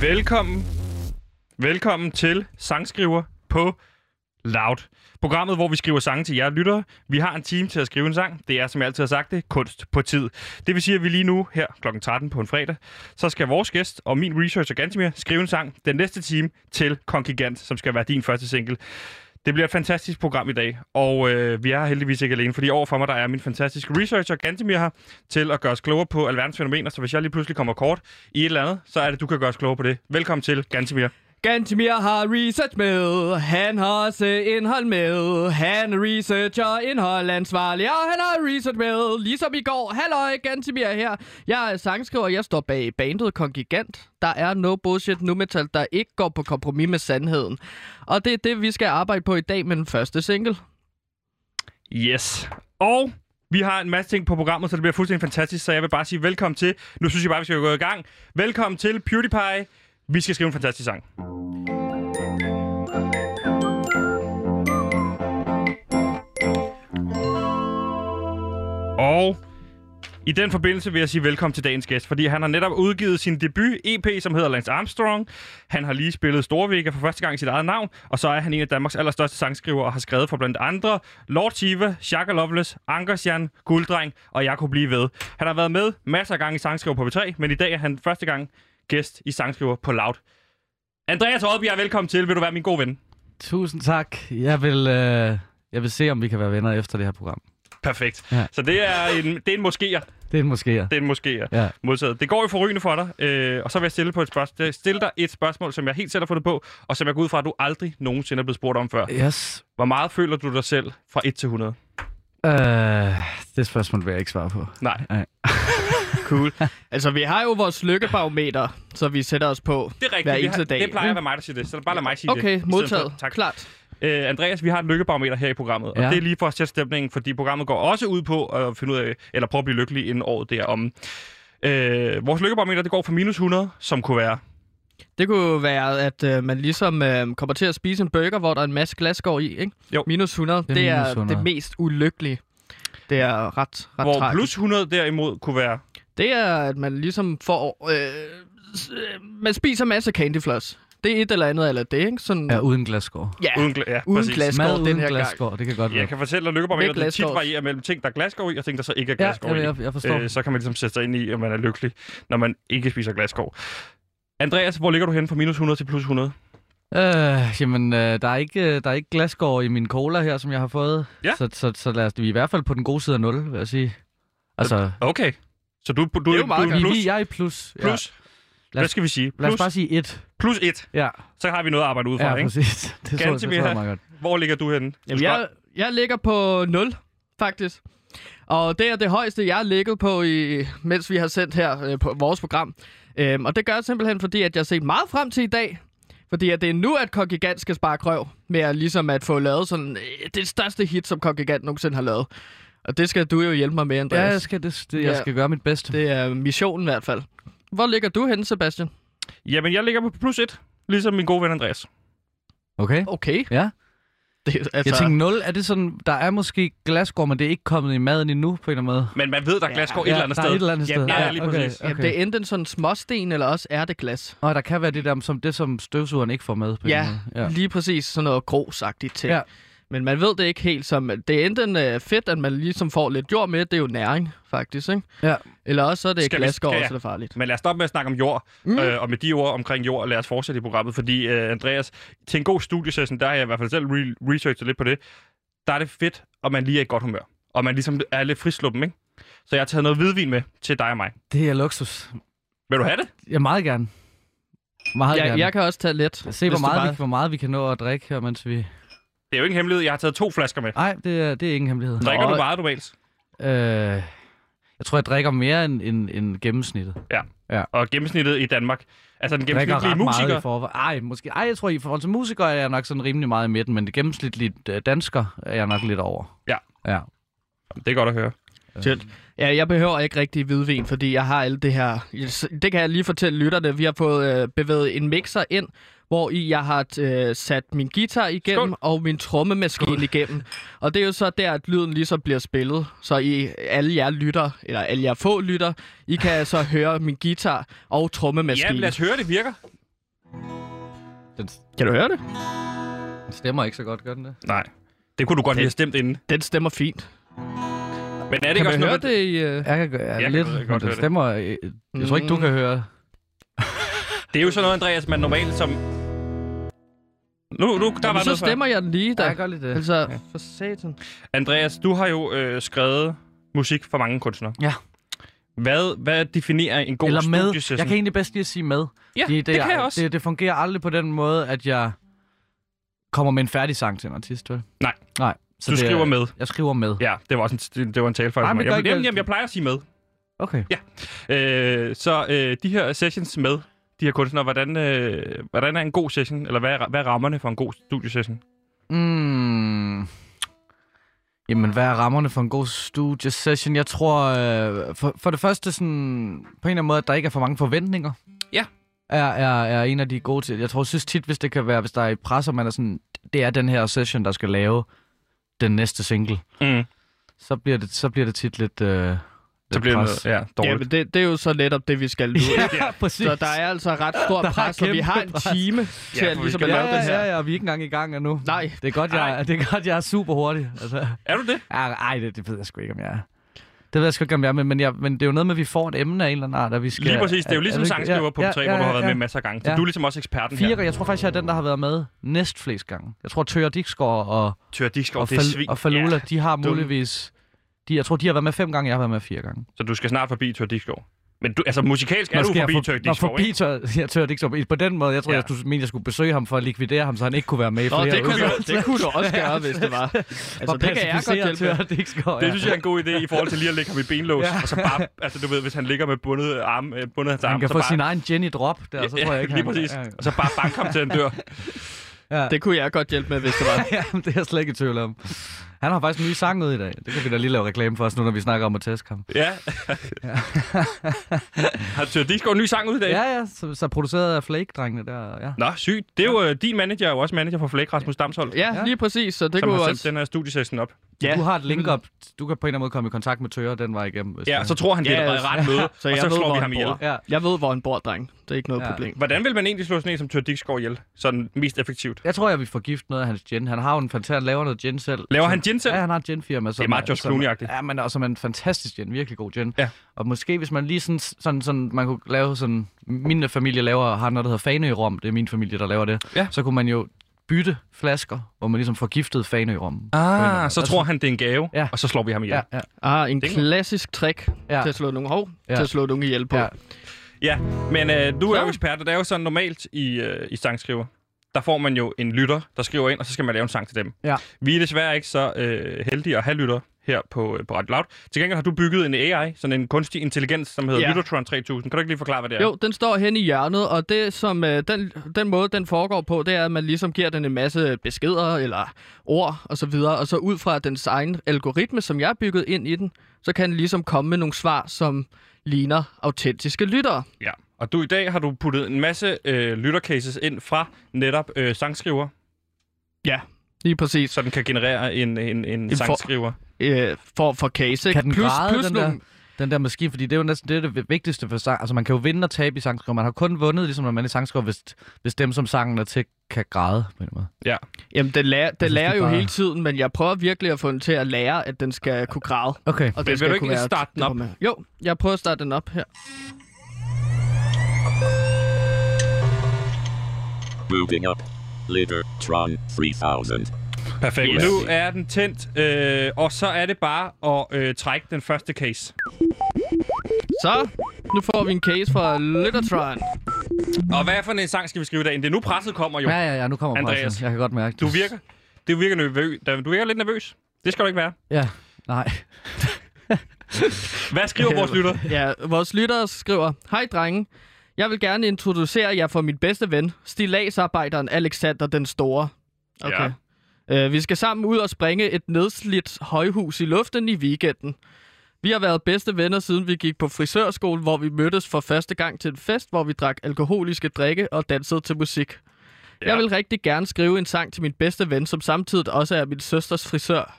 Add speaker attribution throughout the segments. Speaker 1: Velkommen. Velkommen til sangskriver på Loud. Programmet, hvor vi skriver sange til jer lyttere. Vi har en time til at skrive en sang. Det er, som jeg altid har sagt det, kunst på tid. Det vil sige, at vi lige nu, her kl. 13 på en fredag, så skal vores gæst og min researcher Gantemir skrive en sang den næste time til Kongigant, som skal være din første single. Det bliver et fantastisk program i dag, og øh, vi er heldigvis ikke alene, fordi overfor mig der er min fantastiske researcher, Gantemir, her, til at gøre os klogere på alverdens fænomener, så hvis jeg lige pludselig kommer kort i et eller andet, så er det, du kan gøre os klogere på det. Velkommen til, Gantemir.
Speaker 2: Gantimir har research med, han har også indhold med. Han er researcher, indholdansvarlig, og han har research med, ligesom i går. Halløj, Gantimir her. Jeg er sangskriver, jeg står bag bandet Kongigant. Der er no bullshit nu metal, der ikke går på kompromis med sandheden. Og det er det, vi skal arbejde på i dag med den første single.
Speaker 1: Yes. Og vi har en masse ting på programmet, så det bliver fuldstændig fantastisk, så jeg vil bare sige velkommen til. Nu synes jeg bare, vi skal gå i gang. Velkommen til PewDiePie. Vi skal skrive en fantastisk sang. Og i den forbindelse vil jeg sige velkommen til dagens gæst, fordi han har netop udgivet sin debut EP, som hedder Lance Armstrong. Han har lige spillet Storvika for første gang i sit eget navn, og så er han en af Danmarks allerstørste sangskriver og har skrevet for blandt andre Lord Tiva, Shaka Loveless, Ankersjan, Gulddreng, og jeg kunne blive ved. Han har været med masser af gange i sangskriver på B3, men i dag er han første gang gæst i sangskriver på Loud. Andreas Oddbjerg, velkommen til. Vil du være min gode ven?
Speaker 3: Tusind tak. Jeg vil, øh, jeg vil se, om vi kan være venner efter det her program.
Speaker 1: Perfekt. Ja.
Speaker 3: Ja.
Speaker 1: Så det er en, det er en moskéer.
Speaker 3: Det er en måske.
Speaker 1: Det er en moskéer.
Speaker 3: Ja.
Speaker 1: Modtaget. Det går jo forrygende for dig, øh, og så vil jeg stille, på et spørgsmål, stille dig et spørgsmål, som jeg helt selv har fundet på, og som jeg går ud fra, at du aldrig nogensinde er blevet spurgt om før.
Speaker 3: Yes.
Speaker 1: Hvor meget føler du dig selv fra 1 til 100?
Speaker 3: Øh, det spørgsmål vil jeg ikke svare på.
Speaker 1: Nej.
Speaker 3: Nej.
Speaker 1: Cool.
Speaker 2: Altså, vi har jo vores lykkebarometer, så vi sætter os på
Speaker 1: Det er
Speaker 2: hver
Speaker 1: rigtigt. Vi har,
Speaker 2: eneste dag.
Speaker 1: det plejer at
Speaker 2: ikke?
Speaker 1: være mig, der siger det, så bare lad mig sige det. i
Speaker 2: Okay,
Speaker 1: stedet
Speaker 2: modtaget.
Speaker 1: For, tak.
Speaker 2: Klart.
Speaker 1: Øh, Andreas, vi har et lykkebarometer her i programmet, og
Speaker 3: Ja.
Speaker 1: det er lige for at sætte stemningen, fordi programmet går også ud på at finde ud af, eller prøve at blive lykkelig inden året derom. Øh, vores lykkebarometer, det går fra minus 100, som kunne være
Speaker 2: Det kunne være, at øh, man ligesom øh, kommer til at spise en burger, hvor der er en masse glasgård i, ikke?
Speaker 1: Jo.
Speaker 2: Minus 100, det er, det,
Speaker 3: er
Speaker 2: er
Speaker 3: minus 100.
Speaker 2: det mest ulykkelige. Det er ret, ret
Speaker 1: Hvor
Speaker 2: tragisk.
Speaker 1: plus 100 derimod kunne være...
Speaker 2: Det er, at man ligesom får... Øh, s- øh, man spiser masser candyfloss. Det er et eller andet, eller det, ikke? Sådan,
Speaker 3: Ja, uden glasgård.
Speaker 2: ja,
Speaker 1: Uden, gla- ja,
Speaker 2: uden
Speaker 1: præcis.
Speaker 2: Glasgård
Speaker 3: Mad
Speaker 2: den
Speaker 3: uden altså.
Speaker 2: her gang.
Speaker 3: glasgård, det kan godt være.
Speaker 1: Jeg kan fortælle dig, lykkebarometer,
Speaker 2: Med
Speaker 1: det tit
Speaker 2: glasgård.
Speaker 1: varierer mellem ting, der er glasgård i, og ting, der så ikke er
Speaker 3: Ja,
Speaker 1: glasgård
Speaker 3: jeg,
Speaker 1: i.
Speaker 3: jeg, jeg forstår.
Speaker 1: Øh, så kan man ligesom sætte sig ind i, at man er lykkelig, når man ikke spiser glasgård. Andreas, hvor ligger du henne fra minus 100 til plus 100?
Speaker 3: Øh, jamen, øh, der, er ikke, øh, der er ikke glasgård i min cola her, som jeg har fået.
Speaker 1: Ja.
Speaker 3: Så, så, så lad os, vi er i hvert fald på den gode side af 0, vil jeg sige. Altså,
Speaker 1: Okay. Så du, du, du,
Speaker 2: jo
Speaker 1: du
Speaker 2: meget
Speaker 1: er
Speaker 2: godt.
Speaker 3: vi,
Speaker 1: plus,
Speaker 3: vi, jeg er i plus. Ja.
Speaker 1: plus
Speaker 3: Lad
Speaker 1: hvad
Speaker 3: os-
Speaker 1: skal vi sige?
Speaker 3: Lad os
Speaker 1: Plus,
Speaker 3: bare sige 1.
Speaker 1: plus 1.
Speaker 3: Ja,
Speaker 1: Så har vi noget at arbejde ud fra,
Speaker 3: ja
Speaker 1: ikke?
Speaker 3: præcis. Det tror, jeg- det tror
Speaker 1: Gantemir.
Speaker 3: jeg meget godt.
Speaker 1: Hvor ligger du henne? Du
Speaker 2: Jamen,
Speaker 1: skal-
Speaker 2: jeg, jeg ligger på 0, faktisk. Og det er det højeste, jeg har ligget på, i, mens vi har sendt her øh, på vores program. Øhm, og det gør jeg simpelthen, fordi at jeg har set meget frem til i dag. Fordi at det er nu, at Kongigant skal spare krøv med at, ligesom at få lavet sådan, øh, det største hit, som Kongigant nogensinde har lavet. Og det skal du jo hjælpe mig med,
Speaker 3: Ja,
Speaker 2: Andreas.
Speaker 3: jeg skal, det, det, jeg
Speaker 2: Ja.
Speaker 3: skal gøre mit bedste.
Speaker 2: Det er missionen i hvert fald. Hvor ligger du henne, Sebastian?
Speaker 1: Jamen, jeg ligger på plus 1, ligesom min gode ven Andreas.
Speaker 3: Okay.
Speaker 2: Okay.
Speaker 3: Ja.
Speaker 2: Det, er- altså,
Speaker 3: Jeg tænkte, 0 er det sådan, der er måske glasgård, men det er ikke kommet i maden endnu på en eller anden måde.
Speaker 1: Men man ved, der er glasgård
Speaker 3: Ja,
Speaker 1: et eller andet
Speaker 3: der er
Speaker 1: sted.
Speaker 3: et eller andet sted.
Speaker 1: Jamen, ja,
Speaker 3: Ja,
Speaker 1: lige
Speaker 3: okay.
Speaker 1: præcis.
Speaker 2: okay. det er enten sådan småsten, eller også er det glas.
Speaker 3: Og der kan være det der, som det som støvsugeren ikke får med på en
Speaker 2: Ja,
Speaker 3: eller anden
Speaker 2: ja,
Speaker 3: måde.
Speaker 2: lige præcis sådan noget grosagtigt ting. Ja.
Speaker 3: Ja.
Speaker 2: Men man ved det ikke helt som... Det er enten øh, fedt, at man ligesom får lidt jord med, det er jo næring, faktisk, ikke?
Speaker 3: Ja.
Speaker 2: Eller også så er det
Speaker 1: Skal vi-
Speaker 2: glasgård,
Speaker 1: skal jeg-
Speaker 2: så er det farligt.
Speaker 1: Men lad os stoppe med at snakke om jord, mm. øh, og med de ord omkring jord, lad os fortsætte i programmet, fordi øh, Andreas, til en god studiesession, der har jeg i hvert fald selv re- researchet lidt på det, der er det fedt, og man lige er i godt humør, og man ligesom er lidt frisluppen, ikke? Så jeg har taget noget hvidvin med til dig og mig.
Speaker 3: Det er luksus.
Speaker 1: Vil du have det?
Speaker 3: Jeg meget gerne. Meget
Speaker 2: Jeg,
Speaker 3: gerne.
Speaker 2: jeg kan også tage lidt.
Speaker 3: Se,
Speaker 2: hvis
Speaker 3: hvor
Speaker 2: du
Speaker 3: meget,
Speaker 2: bare-
Speaker 3: vi, hvor meget vi kan nå at drikke her, mens vi...
Speaker 1: Det er jo ikke en hemmelighed, jeg har taget to flasker med.
Speaker 3: Nej, det er, det er ingen hemmelighed.
Speaker 1: Drikker
Speaker 2: Nå.
Speaker 1: du meget normalt?
Speaker 3: Øh, jeg tror, jeg drikker mere end, end, end gennemsnittet.
Speaker 1: Og gennemsnittet i Danmark. Altså den
Speaker 3: Jeg drikker
Speaker 1: gennemsnitlige
Speaker 3: meget
Speaker 1: musiker.
Speaker 3: i forvejen. Ej, måske, ej, jeg tror, i forhold til musikere er jeg nok sådan rimelig meget i midten, men det gennemsnitlige øh, dansker er jeg nok lidt over.
Speaker 1: Ja.
Speaker 3: Ja.
Speaker 1: Det er godt at høre.
Speaker 2: Shit. Ja, jeg behøver ikke rigtig hvidvin, fordi jeg har alt det her. Det kan jeg lige fortælle lytterne. Vi har fået øh, bevæget en mixer ind, hvor i jeg har øh, sat min guitar igennem
Speaker 1: Skål.
Speaker 2: Skål. og min trommemaskine igennem. Og det er jo så der, at lyden ligesom bliver spillet. Så I, alle jer lytter, eller alle jer få lytter, I kan så høre min guitar og
Speaker 1: Ja, men
Speaker 2: trommemaskine.
Speaker 1: lad os høre, det virker.
Speaker 3: Den,
Speaker 2: Kan du høre det?
Speaker 3: den stemmer ikke så godt, gør den det?
Speaker 1: Nej. Det kunne du godt lige have stemt inden.
Speaker 2: Den stemmer fint.
Speaker 1: Men er det ikke
Speaker 2: Kan
Speaker 1: også
Speaker 2: man høre
Speaker 1: noget... med-
Speaker 2: det i... Uh...
Speaker 3: Jeg kan, jeg,
Speaker 1: kan
Speaker 3: lidt,
Speaker 1: godt
Speaker 3: men
Speaker 1: høre
Speaker 3: den
Speaker 1: det.
Speaker 3: stemmer... Jeg, jeg tror ikke, du
Speaker 2: Mm.
Speaker 3: kan høre.
Speaker 1: Det er jo sådan noget, Andreas, man normalt som... Nu, nu, der var
Speaker 2: Jamen, så
Speaker 1: noget
Speaker 2: stemmer jeg den lige
Speaker 3: Ja,
Speaker 2: der.
Speaker 3: jeg gør lidt det.
Speaker 2: Altså, for satan.
Speaker 1: Før. Andreas, du har jo øh, skrevet musik for mange kunstnere.
Speaker 3: Ja.
Speaker 1: Hvad, hvad definerer en god
Speaker 3: Eller med.
Speaker 1: studiesession?
Speaker 3: Jeg kan egentlig bedst lige at sige med.
Speaker 1: Ja,
Speaker 3: Fordi
Speaker 1: det, det kan jeg også. Det...
Speaker 3: Det, det fungerer aldrig på den måde, at jeg kommer med en færdig sang til en artist, vel?
Speaker 1: Nej.
Speaker 3: Nej.
Speaker 1: Du
Speaker 3: det er-
Speaker 1: skriver med.
Speaker 3: Jeg skriver med.
Speaker 1: Ja, det var også en, det, det var en tale for
Speaker 3: Nej,
Speaker 1: mig.
Speaker 3: men det gør
Speaker 1: Jamen,
Speaker 3: ikke
Speaker 1: jamen,
Speaker 3: alt.
Speaker 1: jamen, jeg plejer at sige med.
Speaker 3: Okay.
Speaker 1: Øh, så øh, de her sessions med de her kunstnere, hvordan, øh, hvordan er en god session? Eller hvad er, hvad er rammerne for en god studiesession?
Speaker 3: Mm. Jamen, hvad er rammerne for en god studiesession? Jeg tror, øh, for, for det første, sådan, på en eller anden måde, at der ikke er for mange forventninger.
Speaker 1: Ja.
Speaker 3: Er, er, er en af de gode til. Jeg tror, synes tit, hvis det kan være, hvis der er i presser, man er sådan, det er den her session, der skal lave den næste single.
Speaker 1: Mm.
Speaker 3: Så bliver det, så bliver det tit lidt, øh, lidt
Speaker 1: Så bliver det
Speaker 3: pres.
Speaker 1: noget, ja,
Speaker 2: Ja,
Speaker 1: dårligt.
Speaker 2: men det, det er jo så netop det, vi skal nu. ikke?
Speaker 3: Ja, præcis.
Speaker 2: Så der er altså ret stor
Speaker 3: Der er
Speaker 2: pres, og vi
Speaker 3: kæmpe
Speaker 2: har en
Speaker 3: pres.
Speaker 2: time til at
Speaker 1: for vi
Speaker 2: ligesom
Speaker 1: skal
Speaker 2: at
Speaker 3: ja,
Speaker 2: lave
Speaker 3: ja,
Speaker 2: det her.
Speaker 3: ja, ja, og vi er ikke engang i gang endnu.
Speaker 2: Nej,
Speaker 3: Det er godt, jeg, det er, godt, jeg er super hurtig. Altså.
Speaker 1: Er du det?
Speaker 3: Ej, ej det, det ved jeg sgu ikke, om jeg er. Det ved jeg sgu ikke, om jeg er, men, men, jeg, men det er jo noget med, at vi får et emne af en eller anden art, og vi skal...
Speaker 1: Lige præcis. Det er jo ligesom
Speaker 3: det ikke-
Speaker 1: sangskriver på P3, hvor du har været med masser af gange. Så
Speaker 3: Ja.
Speaker 1: du er ligesom også eksperten
Speaker 3: Fire,
Speaker 1: her.
Speaker 3: gange. jeg tror faktisk, jeg er den, der har været med næst flest gange. Jeg tror, Tøger Dixgaard og,
Speaker 1: Tør
Speaker 3: og,
Speaker 1: Dikskov, det er
Speaker 3: Fal-
Speaker 1: svin.
Speaker 3: og Falula, de har
Speaker 2: Dumme.
Speaker 3: muligvis... De, jeg tror, de har været med fem gange, jeg har været med fire gange.
Speaker 1: Ja, Så du skal snart forbi Tør Dikskov. Men du, altså musikalsk er
Speaker 3: Nå,
Speaker 1: du
Speaker 3: skal jeg
Speaker 1: forbi
Speaker 3: for-
Speaker 1: Tør
Speaker 3: Nå,
Speaker 1: Dikskov,
Speaker 3: forbi
Speaker 1: ikke?
Speaker 3: Tøger, jeg Tøger Dixgaard. På den måde, jeg tror,
Speaker 1: Ja.
Speaker 3: jeg, du mente, jeg skulle besøge ham for at likvidere ham, så han ikke kunne være med i
Speaker 2: Nå,
Speaker 3: flere
Speaker 2: det, kunne,
Speaker 3: udsendelser.
Speaker 2: du- det kunne du også gøre, hvis det var. Altså, det kan jeg godt hjælpe med.
Speaker 3: Tøger Dixgaard,
Speaker 1: Det
Speaker 3: ja.
Speaker 1: synes jeg er en god idé i forhold til lige at lægge ham i benlås.
Speaker 3: Ja.
Speaker 1: Og så bare, altså du ved, hvis han ligger med bundet, arm, øh, bundet hans arm.
Speaker 3: Han kan
Speaker 1: så
Speaker 3: få
Speaker 1: bare,
Speaker 3: sin egen Jenny drop der, så tror jeg ikke,
Speaker 1: lige
Speaker 3: han-
Speaker 1: præcis.
Speaker 3: Ja,
Speaker 1: Og så bare banke ham til en dør.
Speaker 3: ja.
Speaker 2: Det kunne jeg godt hjælpe med, hvis det var.
Speaker 3: ja, men det er jeg slet ikke i tvivl om. Han har faktisk en ny sang ud i dag. Det kan vi da lige lave reklame for os nu, når vi snakker om at teste ham.
Speaker 1: Ja. har Tør Dikskov en ny sang ud i dag?
Speaker 3: Ja, ja, så, så produceret af Flake-drengene der, ja.
Speaker 1: Nå, sygt. Det er jo øh, din manager, er jo også manager for Flæk, Rasmus Damsholdt.
Speaker 2: Ja, lige præcis. Så det
Speaker 1: som
Speaker 2: kunne
Speaker 1: har sendt
Speaker 2: også...
Speaker 1: den her studiesession op.
Speaker 2: Ja,
Speaker 3: Du har et link op. Du kan på en eller anden måde komme i kontakt med Tøger den vej igennem. Hvis
Speaker 1: Ja,
Speaker 3: du-
Speaker 1: og så tror han, det er
Speaker 2: Ja,
Speaker 3: altså.
Speaker 1: et ret møde,
Speaker 2: så
Speaker 1: og
Speaker 2: jeg
Speaker 1: så
Speaker 2: ved,
Speaker 1: slår
Speaker 2: hvor
Speaker 1: vi
Speaker 2: han
Speaker 1: ham ihjel.
Speaker 2: bor.
Speaker 3: Ja.
Speaker 2: Jeg ved, hvor han bor, dreng. Det er ikke noget
Speaker 3: Ja.
Speaker 2: problem.
Speaker 1: Hvordan vil man egentlig slå sådan en som Tør Dikskov ihjel? Sådan mest effektivt.
Speaker 3: Jeg tror, jeg vil forgifte noget af hans gin. Han har jo en fantastisk... Han laver noget gin selv.
Speaker 1: Laver han gin selv?
Speaker 3: Ja, han har et ginfirma. Som,
Speaker 1: Det er meget George
Speaker 3: som-
Speaker 1: Clooney-agtigt.
Speaker 3: Ja, men også som en fantastisk gin. Virkelig god gin.
Speaker 1: Ja.
Speaker 3: Og måske hvis man lige sådan, sådan, sådan man kunne lave sådan... Min familie laver, har noget, der hedder Fanø-rom. Det er min familie, der laver det.
Speaker 1: Ja.
Speaker 3: Så kunne man jo bytte flasker, hvor man ligesom forgiftede Fanø-rommen.
Speaker 1: Ah, så tror han, det er en gave,
Speaker 3: Ja.
Speaker 1: og så slår vi ham ihjel.
Speaker 3: Ja, ja.
Speaker 2: Ah, en
Speaker 1: Det-
Speaker 2: klassisk trick
Speaker 3: Ja.
Speaker 2: til at slå nogle hov,
Speaker 3: Ja.
Speaker 2: til at slå nogle ihjel på.
Speaker 3: Ja.
Speaker 1: Ja, men øh, du er
Speaker 2: Så.
Speaker 1: jo ekspert, og det er jo sådan normalt i, øh, i sangskriver. Der får man jo en lytter, der skriver ind, og så skal man lave en sang til dem.
Speaker 3: Ja.
Speaker 1: Vi er desværre ikke så øh, heldige at have lytter her på, øh, på Radio Loud. Til gengæld har du bygget en AI, sådan en kunstig intelligens, som hedder
Speaker 2: Ja.
Speaker 1: ja. Lyttertron 3000. Kan du ikke lige forklare, hvad det er?
Speaker 2: Jo, den står hen i hjørnet, og det som øh, den, den måde, den foregår på, det er, at man ligesom giver den en masse beskeder eller ord og så videre, og så ud fra dens egen algoritme, som jeg har bygget ind i den, så kan den ligesom komme med nogle svar, som ligner autentiske lyttere.
Speaker 1: Ja. Og du i dag har du puttet en masse øh, lyttercases ind fra netop øh, sangskriver,
Speaker 2: Ja, lige præcis.
Speaker 1: så den kan generere en, en, en,
Speaker 2: for-
Speaker 1: sangskriver.
Speaker 2: Øh, for, for case, ikke?
Speaker 3: Kan den græde, den der?
Speaker 2: nogle-
Speaker 3: Den der maskine, fordi det er jo næsten det, er det vigtigste for sang. Altså, man kan jo vinde og tabe i sangskriver. Man har kun vundet, ligesom når man er i sangskriver, hvis, hvis dem, som sangen er til, kan græde. På en måde.
Speaker 1: Ja.
Speaker 2: Jamen, den lærer, den
Speaker 3: synes,
Speaker 2: lærer
Speaker 3: det
Speaker 2: jo
Speaker 3: bare-
Speaker 2: hele tiden, men jeg prøver virkelig at få den til at lære, at den skal kunne græde.
Speaker 3: Okay.
Speaker 1: vil
Speaker 2: Og den skal
Speaker 1: du ikke
Speaker 2: kunne være
Speaker 1: starte den op?
Speaker 2: diplomat. Jo, jeg prøver at starte den op her.
Speaker 4: Moving up. Litter Tron 3000.
Speaker 1: Perfekt.
Speaker 4: Yes.
Speaker 1: Nu er den tændt, øh, og så er det bare at øh, trække den første case.
Speaker 2: Så, nu får vi en case fra Lyttertron.
Speaker 1: Og hvad for en sang skal vi skrive i dag? Det er nu presset kommer jo.
Speaker 3: Ja, ja, ja, nu kommer
Speaker 1: Andreas.
Speaker 3: pressen. Jeg kan godt mærke det.
Speaker 1: Du virker, det virker nervøs. Du virker lidt nervøs. Det skal du ikke være.
Speaker 3: Ja, nej.
Speaker 1: Hvad skriver vores lytter?
Speaker 2: Ja, vores lytter skriver, Hej drenge, jeg vil gerne introducere jer for min bedste ven, stilagsarbejderen Alexander den Store. Okay. Ja. Øh, vi skal sammen ud og springe et nedslidt højhus i luften i weekenden. Vi har været bedste venner, siden vi gik på frisørskole, hvor vi mødtes for første gang til en fest, hvor vi drak alkoholiske drikke og dansede til musik. Ja. Jeg vil rigtig gerne skrive en sang til min bedste ven, som samtidig også er min søsters frisør.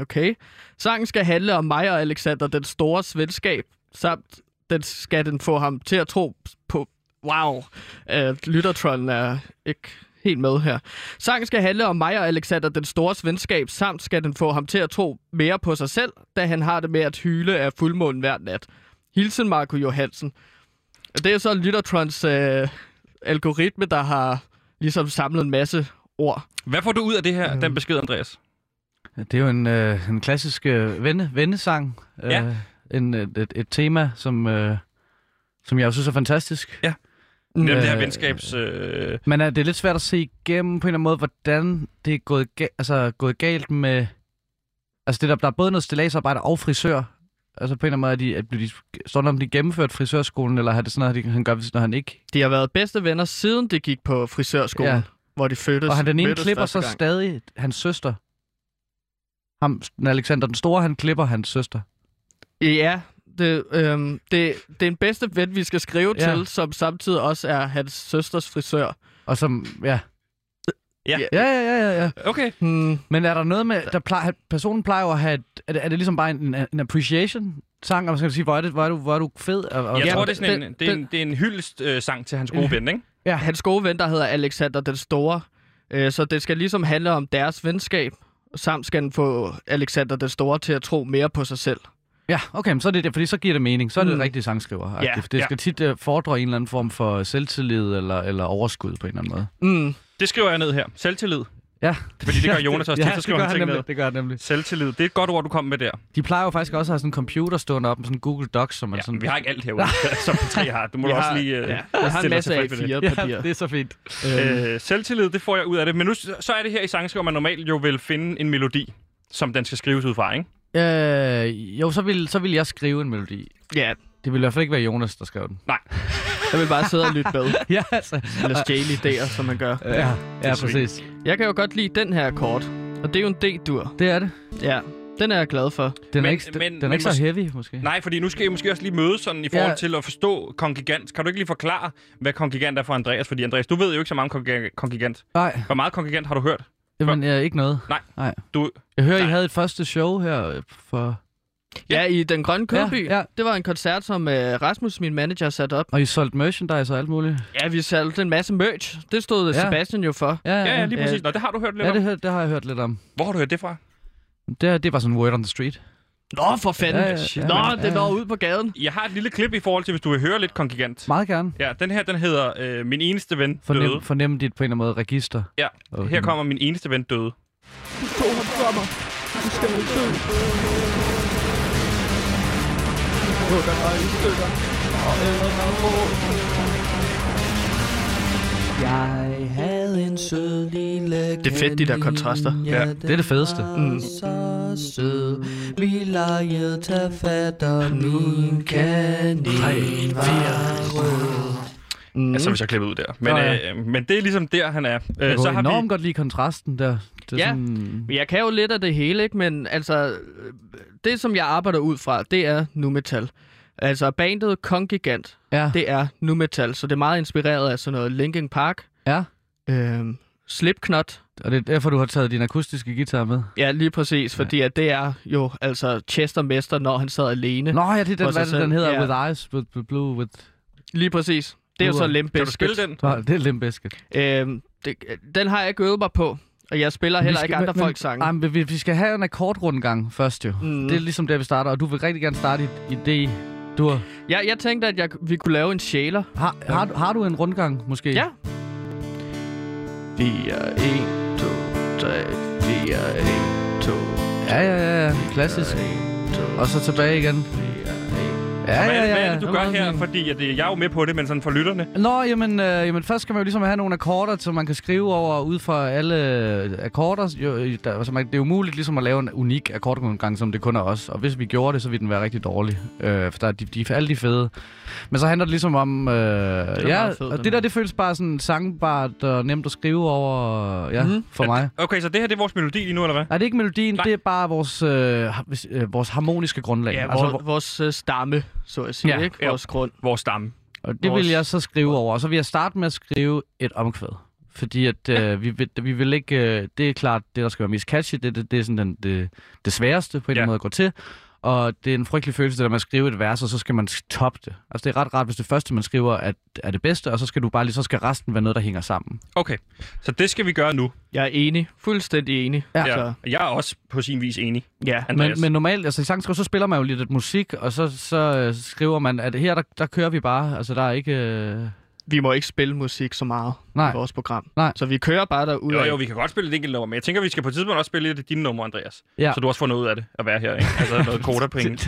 Speaker 2: Okay. Sangen skal handle om mig og Alexander den store venskab, samt den skal den få ham til at tro på, Wow. Øh, lyttertron er ikke helt med her. Sangen skal handle om mig og Alexander den Stores venskab, samt skal den få ham til at tro mere på sig selv, da han har det med at hyle af fuldmånen hver nat. Hilsen Marco Johansen. Det er så Lyttertrons øh, algoritme, der har ligesom samlet en masse ord.
Speaker 1: Hvad får du ud af det her,
Speaker 2: Mm.
Speaker 1: den besked, Andreas?
Speaker 3: Det er jo en, øh, en klassisk øh, venne, vennesang. Øh,
Speaker 1: Ja.
Speaker 3: en, et, et, et tema, som, øh, som jeg jo synes er fantastisk.
Speaker 1: Ja. Nemlig det her
Speaker 3: Øh,
Speaker 1: venskabs... Øh...
Speaker 3: Men øh, det er lidt svært at se igennem på en eller anden måde, hvordan det er gået, ga- altså, gået galt med... Altså, det der, der er både noget stillagsarbejde og frisør. Altså, på en eller anden måde, er de, er, blev de, står der, om de gennemført frisørskolen, eller er det sådan noget, de- han gør, hvis- når han ikke...
Speaker 2: De har været bedste venner, siden det gik på frisørskolen, ja.
Speaker 3: Ja.
Speaker 2: hvor de fødtes.
Speaker 3: Og han, den ene
Speaker 2: mødtes
Speaker 3: klipper
Speaker 2: første
Speaker 3: så
Speaker 2: gang.
Speaker 3: stadig hans søster. Ham, Alexander den Store, han klipper hans søster.
Speaker 2: Ja, det, øhm, det, det er en bedste ven, vi skal skrive ja.
Speaker 3: Ja.
Speaker 2: til, som samtidig også er hans søsters frisør.
Speaker 3: Og som, ja.
Speaker 1: Ja.
Speaker 3: Ja, ja, ja, ja, ja.
Speaker 1: Okay.
Speaker 2: Hmm,
Speaker 3: Men er der noget med, der plejer, personen plejer jo at have, et, er, det, er det ligesom bare en, en appreciation sang, og man skal sige, hvor er, det, hvor er du, hvor er du fed? Og, og,
Speaker 1: Jeg
Speaker 2: Ja,
Speaker 1: tror,
Speaker 2: men
Speaker 1: det er sådan
Speaker 2: den-
Speaker 1: en, det er en,
Speaker 2: den-
Speaker 1: det er en hyldest øh, sang til hans gode ven, ikke?
Speaker 3: ja.
Speaker 2: hans gode ven, der hedder Alexander den Store. Øh, så det skal ligesom handle om deres venskab, samt skal den få Alexander den Store til at tro mere på sig selv.
Speaker 3: ja, okay, men så er det det, fordi så giver det mening. Så er det
Speaker 2: Mm.
Speaker 3: mm. rigtige sangskriver.
Speaker 2: Ja,
Speaker 3: Ja, det
Speaker 1: ja.
Speaker 3: skal tit uh, fordre en eller anden form for selvtillid eller, eller overskud på en eller anden måde.
Speaker 2: Mm.
Speaker 1: Det skriver jeg ned her. Selvtillid.
Speaker 3: Ja.
Speaker 1: Fordi det gør Jonas også
Speaker 3: ja,
Speaker 1: tit, så skriver
Speaker 3: det
Speaker 1: han
Speaker 3: gør han
Speaker 1: ting
Speaker 3: nemlig,
Speaker 1: ned.
Speaker 3: Det gør han nemlig.
Speaker 1: Selvtillid. Det er et godt ord, du kom med der.
Speaker 3: De plejer jo faktisk også at have sådan en computer stående op med sådan en Google Docs, som man
Speaker 1: Ja,
Speaker 3: sådan...
Speaker 1: vi har ikke alt herude, som P3 har. Du må
Speaker 2: Jeg
Speaker 1: da
Speaker 2: har-
Speaker 1: også lige øh,
Speaker 2: ja, jeg har en
Speaker 1: stille dig
Speaker 2: masse af
Speaker 1: tilfreds med det.
Speaker 2: fire
Speaker 3: Ja,
Speaker 2: papirer.
Speaker 3: det er så fint. Øhm.
Speaker 1: Øh, selvtillid, det får jeg ud af det. Men nu, så er det her i sangskriver, man normalt jo vil finde en melodi, som den skal skrives ud fra, ikke?
Speaker 3: Øh, jo, så vil, så vil jeg skrive en melodi.
Speaker 2: Ja,
Speaker 3: Det ville i hvert fald ikke være Jonas, der skrev den.
Speaker 2: jeg vil bare sidde og lytte med.
Speaker 3: ja, altså.
Speaker 2: Eller stjæle idéer, som man gør.
Speaker 3: Ja, ja
Speaker 1: er sweet.
Speaker 3: præcis.
Speaker 2: Jeg kan jo godt lide den her akkord, og det er jo en D-dur.
Speaker 3: Det er det.
Speaker 2: Ja, den er jeg glad for.
Speaker 3: Den
Speaker 1: Men-
Speaker 3: er ikke, den,
Speaker 1: men-
Speaker 3: den er
Speaker 1: men
Speaker 3: ikke så
Speaker 1: mås-
Speaker 3: heavy, måske.
Speaker 1: Nej, fordi nu skal I måske også lige mødes sådan i forhold
Speaker 3: Ja.
Speaker 1: til at forstå kongigant. Kan du ikke lige forklare, hvad kongigant er for Andreas? Fordi Andreas, du ved jo ikke så meget om kongiga- kongigant.
Speaker 3: Nej,
Speaker 1: Hvor meget kongigant har du hørt?
Speaker 3: jamen, jeg er ikke noget.
Speaker 1: Nej.
Speaker 3: Nej.
Speaker 1: Du-
Speaker 3: Jeg hører,
Speaker 1: Nej.
Speaker 3: I havde et første show her øh, for...
Speaker 2: Ja, i Den Grønne Kødby. Ja,
Speaker 3: Ja,
Speaker 2: ja.
Speaker 3: ja.
Speaker 2: Det var en koncert, som øh, Rasmus, min manager, satte op.
Speaker 3: Og I solgte merchandise og alt muligt.
Speaker 2: Ja, vi solgte en masse merch. Det stod ja.
Speaker 3: Ja.
Speaker 2: Sebastian jo for.
Speaker 3: Ja,
Speaker 1: Ja, ja lige
Speaker 2: ja.
Speaker 1: præcis. Nå, det har du hørt lidt
Speaker 3: ja
Speaker 1: om.
Speaker 3: det, hør- det har jeg hørt lidt om.
Speaker 1: Hvor har du hørt det fra?
Speaker 3: Det, det var sådan word on the street.
Speaker 2: Nå, for fanden.
Speaker 3: Ja,
Speaker 2: Ja,
Speaker 3: ja,
Speaker 2: ja,
Speaker 3: ja.
Speaker 2: Nå,
Speaker 3: Ja,
Speaker 2: det
Speaker 3: ja.
Speaker 2: når ud på gaden.
Speaker 1: Jeg har et lille klip i forhold til, hvis du vil høre lidt kongigant.
Speaker 3: Meget gerne.
Speaker 1: Ja, den her, den hedder øh, Min eneste ven døde.
Speaker 3: Fornem, fornem dit på en eller anden måde register.
Speaker 1: Ja,
Speaker 3: Okay. Mm.
Speaker 1: her kommer Min eneste ven døde.
Speaker 5: Jeg havde en sød lille
Speaker 2: Det er fedt, de der kontraster.
Speaker 1: Ja,
Speaker 5: det
Speaker 3: er det fedeste.
Speaker 1: Øh,
Speaker 5: Mm. Så sød. Vi legede tage fat, og min kanin var rød.
Speaker 1: Mm. Altså, hvis jeg klipper ud der. Men,
Speaker 3: Nå,
Speaker 1: ja.
Speaker 3: ja.
Speaker 1: øh, men det er ligesom der, han er.
Speaker 3: Jeg
Speaker 1: Øh,
Speaker 3: kunne
Speaker 1: så har
Speaker 3: enormt
Speaker 1: vi...
Speaker 3: godt lide kontrasten der. Det er
Speaker 2: Ja.
Speaker 3: Sådan,
Speaker 2: Jeg kan jo lidt af det hele, ikke? men altså, øh, det som jeg arbejder ud fra, det er nu metal. Altså bandet Kongigant,
Speaker 3: ja. Det,
Speaker 2: det er nu metal, så det er meget inspireret af sådan noget Linkin Park,
Speaker 3: ja.
Speaker 2: øhm, Slipknot,
Speaker 3: Og det er derfor, du har taget din akustiske guitar med.
Speaker 2: ja lige præcis, fordi at det er jo altså Chester Mester, når han sad alene.
Speaker 3: Nå, ja, det
Speaker 2: For
Speaker 3: er den,
Speaker 2: sig
Speaker 3: hvad er det,
Speaker 2: selv,
Speaker 3: den hedder.
Speaker 2: ja.
Speaker 3: With eyes, with, with blue, with...
Speaker 2: Lige præcis. Det er jo så
Speaker 3: Uha.
Speaker 2: Limp
Speaker 1: Kan du spille
Speaker 2: Bizkit.
Speaker 1: den?
Speaker 3: Nå, det er Limp Bizkit.
Speaker 2: Øhm, det, den har jeg ikke øvet mig på, og jeg spiller
Speaker 3: Men vi
Speaker 2: heller
Speaker 3: skal-
Speaker 2: ikke andre
Speaker 3: men-
Speaker 2: folks sange.
Speaker 3: Nej, men vi, vi skal have en akkordrundgang først jo.
Speaker 2: Mm.
Speaker 3: Mm. Det er ligesom der, vi starter, og du vil rigtig gerne starte i, i D. Du har,
Speaker 2: Jeg, jeg tænkte, at jeg, vi kunne lave en sjæler.
Speaker 3: har, har, du- har du en rundgang, måske?
Speaker 2: Ja. 4, 1, 2, 3, 4, 1, 2,
Speaker 3: Ja, ja, ja, ja. Klassisk.
Speaker 2: 1, 2,
Speaker 3: Og så tilbage igen. Ja,
Speaker 1: Hvad,
Speaker 3: ja, ja.
Speaker 1: hvad er det, du
Speaker 3: ja.
Speaker 1: gør her? Fordi at, øh, jeg er jo med på det, men sådan for lytterne.
Speaker 3: Nå, jamen, øh, jamen, først skal man jo ligesom have nogle akkorder, som man kan skrive over ud fra alle øh, akkorder. Jo, øh, der, så man, det er umuligt ligesom at lave en unik akkordgrundgang, som det kun er os. Og hvis vi gjorde det, så ville den være rigtig dårlig. Øh, for der er de, de, er alle de fede. Men så handler det ligesom om... Øh,
Speaker 2: er
Speaker 3: ja,
Speaker 2: meget fed, den
Speaker 3: og det
Speaker 2: her.
Speaker 3: der, det føles bare sådan sangbart og nemt at skrive over ja,
Speaker 2: Mhm.
Speaker 3: mm-hmm. for mig.
Speaker 1: Okay, så det her det er vores melodi lige nu, eller hvad?
Speaker 3: Nej, det er ikke melodien,
Speaker 1: Nej.
Speaker 3: Nej. det er bare vores, øh, har- hvis- øh, vores harmoniske grundlag.
Speaker 2: Ja,
Speaker 3: altså,
Speaker 2: vor,
Speaker 3: hvor,
Speaker 2: vores øh, stamme, så at sige,
Speaker 3: Ja,
Speaker 2: ikke?
Speaker 1: jo.
Speaker 2: Vores grund.
Speaker 1: Vores stamme.
Speaker 3: og det
Speaker 2: vores-
Speaker 3: vil jeg så skrive over. Og så vil jeg starte med at skrive et omkvæd. Fordi at øh, vi, vil, vi vil ikke... Øh, det er klart, det der skal være mest catchy, det, det, det er sådan den, det, det sværeste på en eller
Speaker 1: Ja.
Speaker 3: anden måde at gå til. Og det er en frygtelig følelse, det der med at skrive et vers, og så skal man toppe det. Altså, det er ret rart, hvis det første, man skriver, er, er det bedste, og så skal du bare lige, så skal resten være noget, der hænger sammen.
Speaker 1: Okay, så det skal vi gøre nu.
Speaker 2: Jeg er enig. Fuldstændig enig. Altså,
Speaker 3: Ja.
Speaker 1: Ja. Jeg er også på sin vis enig,
Speaker 2: ja.
Speaker 1: Andreas.
Speaker 3: Men, men normalt, altså i sangskriver, så spiller man jo lidt et musik, og så, så øh, skriver man, at her, der, der kører vi bare. Altså, der er ikke... Øh...
Speaker 2: Vi må ikke spille musik så meget
Speaker 3: Nej.
Speaker 2: i vores program.
Speaker 3: Nej.
Speaker 2: Så vi kører bare derud.
Speaker 1: Jo, jo, vi kan godt spille et enkelt nummer, men jeg tænker, vi skal på et tidspunkt også spille et af dine numre, Andreas.
Speaker 3: Ja.
Speaker 1: Så du også får noget ud af det at være her, ikke? Altså noget koder på en.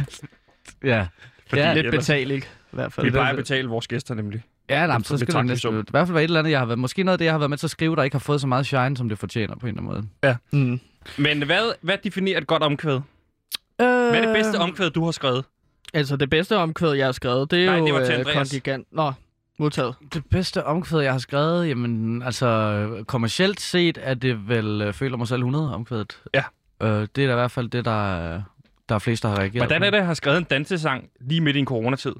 Speaker 3: Ja.
Speaker 1: Fordi
Speaker 3: Ja,
Speaker 2: Lidt
Speaker 1: ellers-
Speaker 2: betalt, ikke? I hvert fald.
Speaker 1: Vi
Speaker 3: Det er
Speaker 1: plejer at
Speaker 3: derfor-
Speaker 1: betale vores gæster nemlig.
Speaker 3: Ja, nej, men
Speaker 1: Det
Speaker 3: så skal det
Speaker 1: betragtes
Speaker 3: næsten,
Speaker 1: som.
Speaker 3: i hvert fald være et eller andet, jeg har været, måske noget af det, jeg har været med til at skrive, der ikke har fået så meget shine, som det fortjener på en eller anden måde.
Speaker 2: Mm.
Speaker 1: Men hvad, hvad definerer et godt omkvæd?
Speaker 2: Øh,
Speaker 1: Hvad er det bedste omkvæd, du har skrevet?
Speaker 2: Altså, det bedste omkvæd, jeg har skrevet, det er
Speaker 1: Nej,
Speaker 2: jo
Speaker 1: det var til
Speaker 2: øh,
Speaker 1: Andreas.
Speaker 2: kontingent. Nå, modtaget.
Speaker 3: Det bedste omkvæd, jeg har skrevet, jamen altså øh, kommercielt set, er det vel øh, Føler mig selv 100 omkvædet.
Speaker 1: Ja.
Speaker 3: Øh, det er da i hvert fald det, der, øh, der er flest, der har reageret
Speaker 1: Hvordan
Speaker 3: på.
Speaker 1: er det, at have skrevet en dansesang lige midt i en coronatid?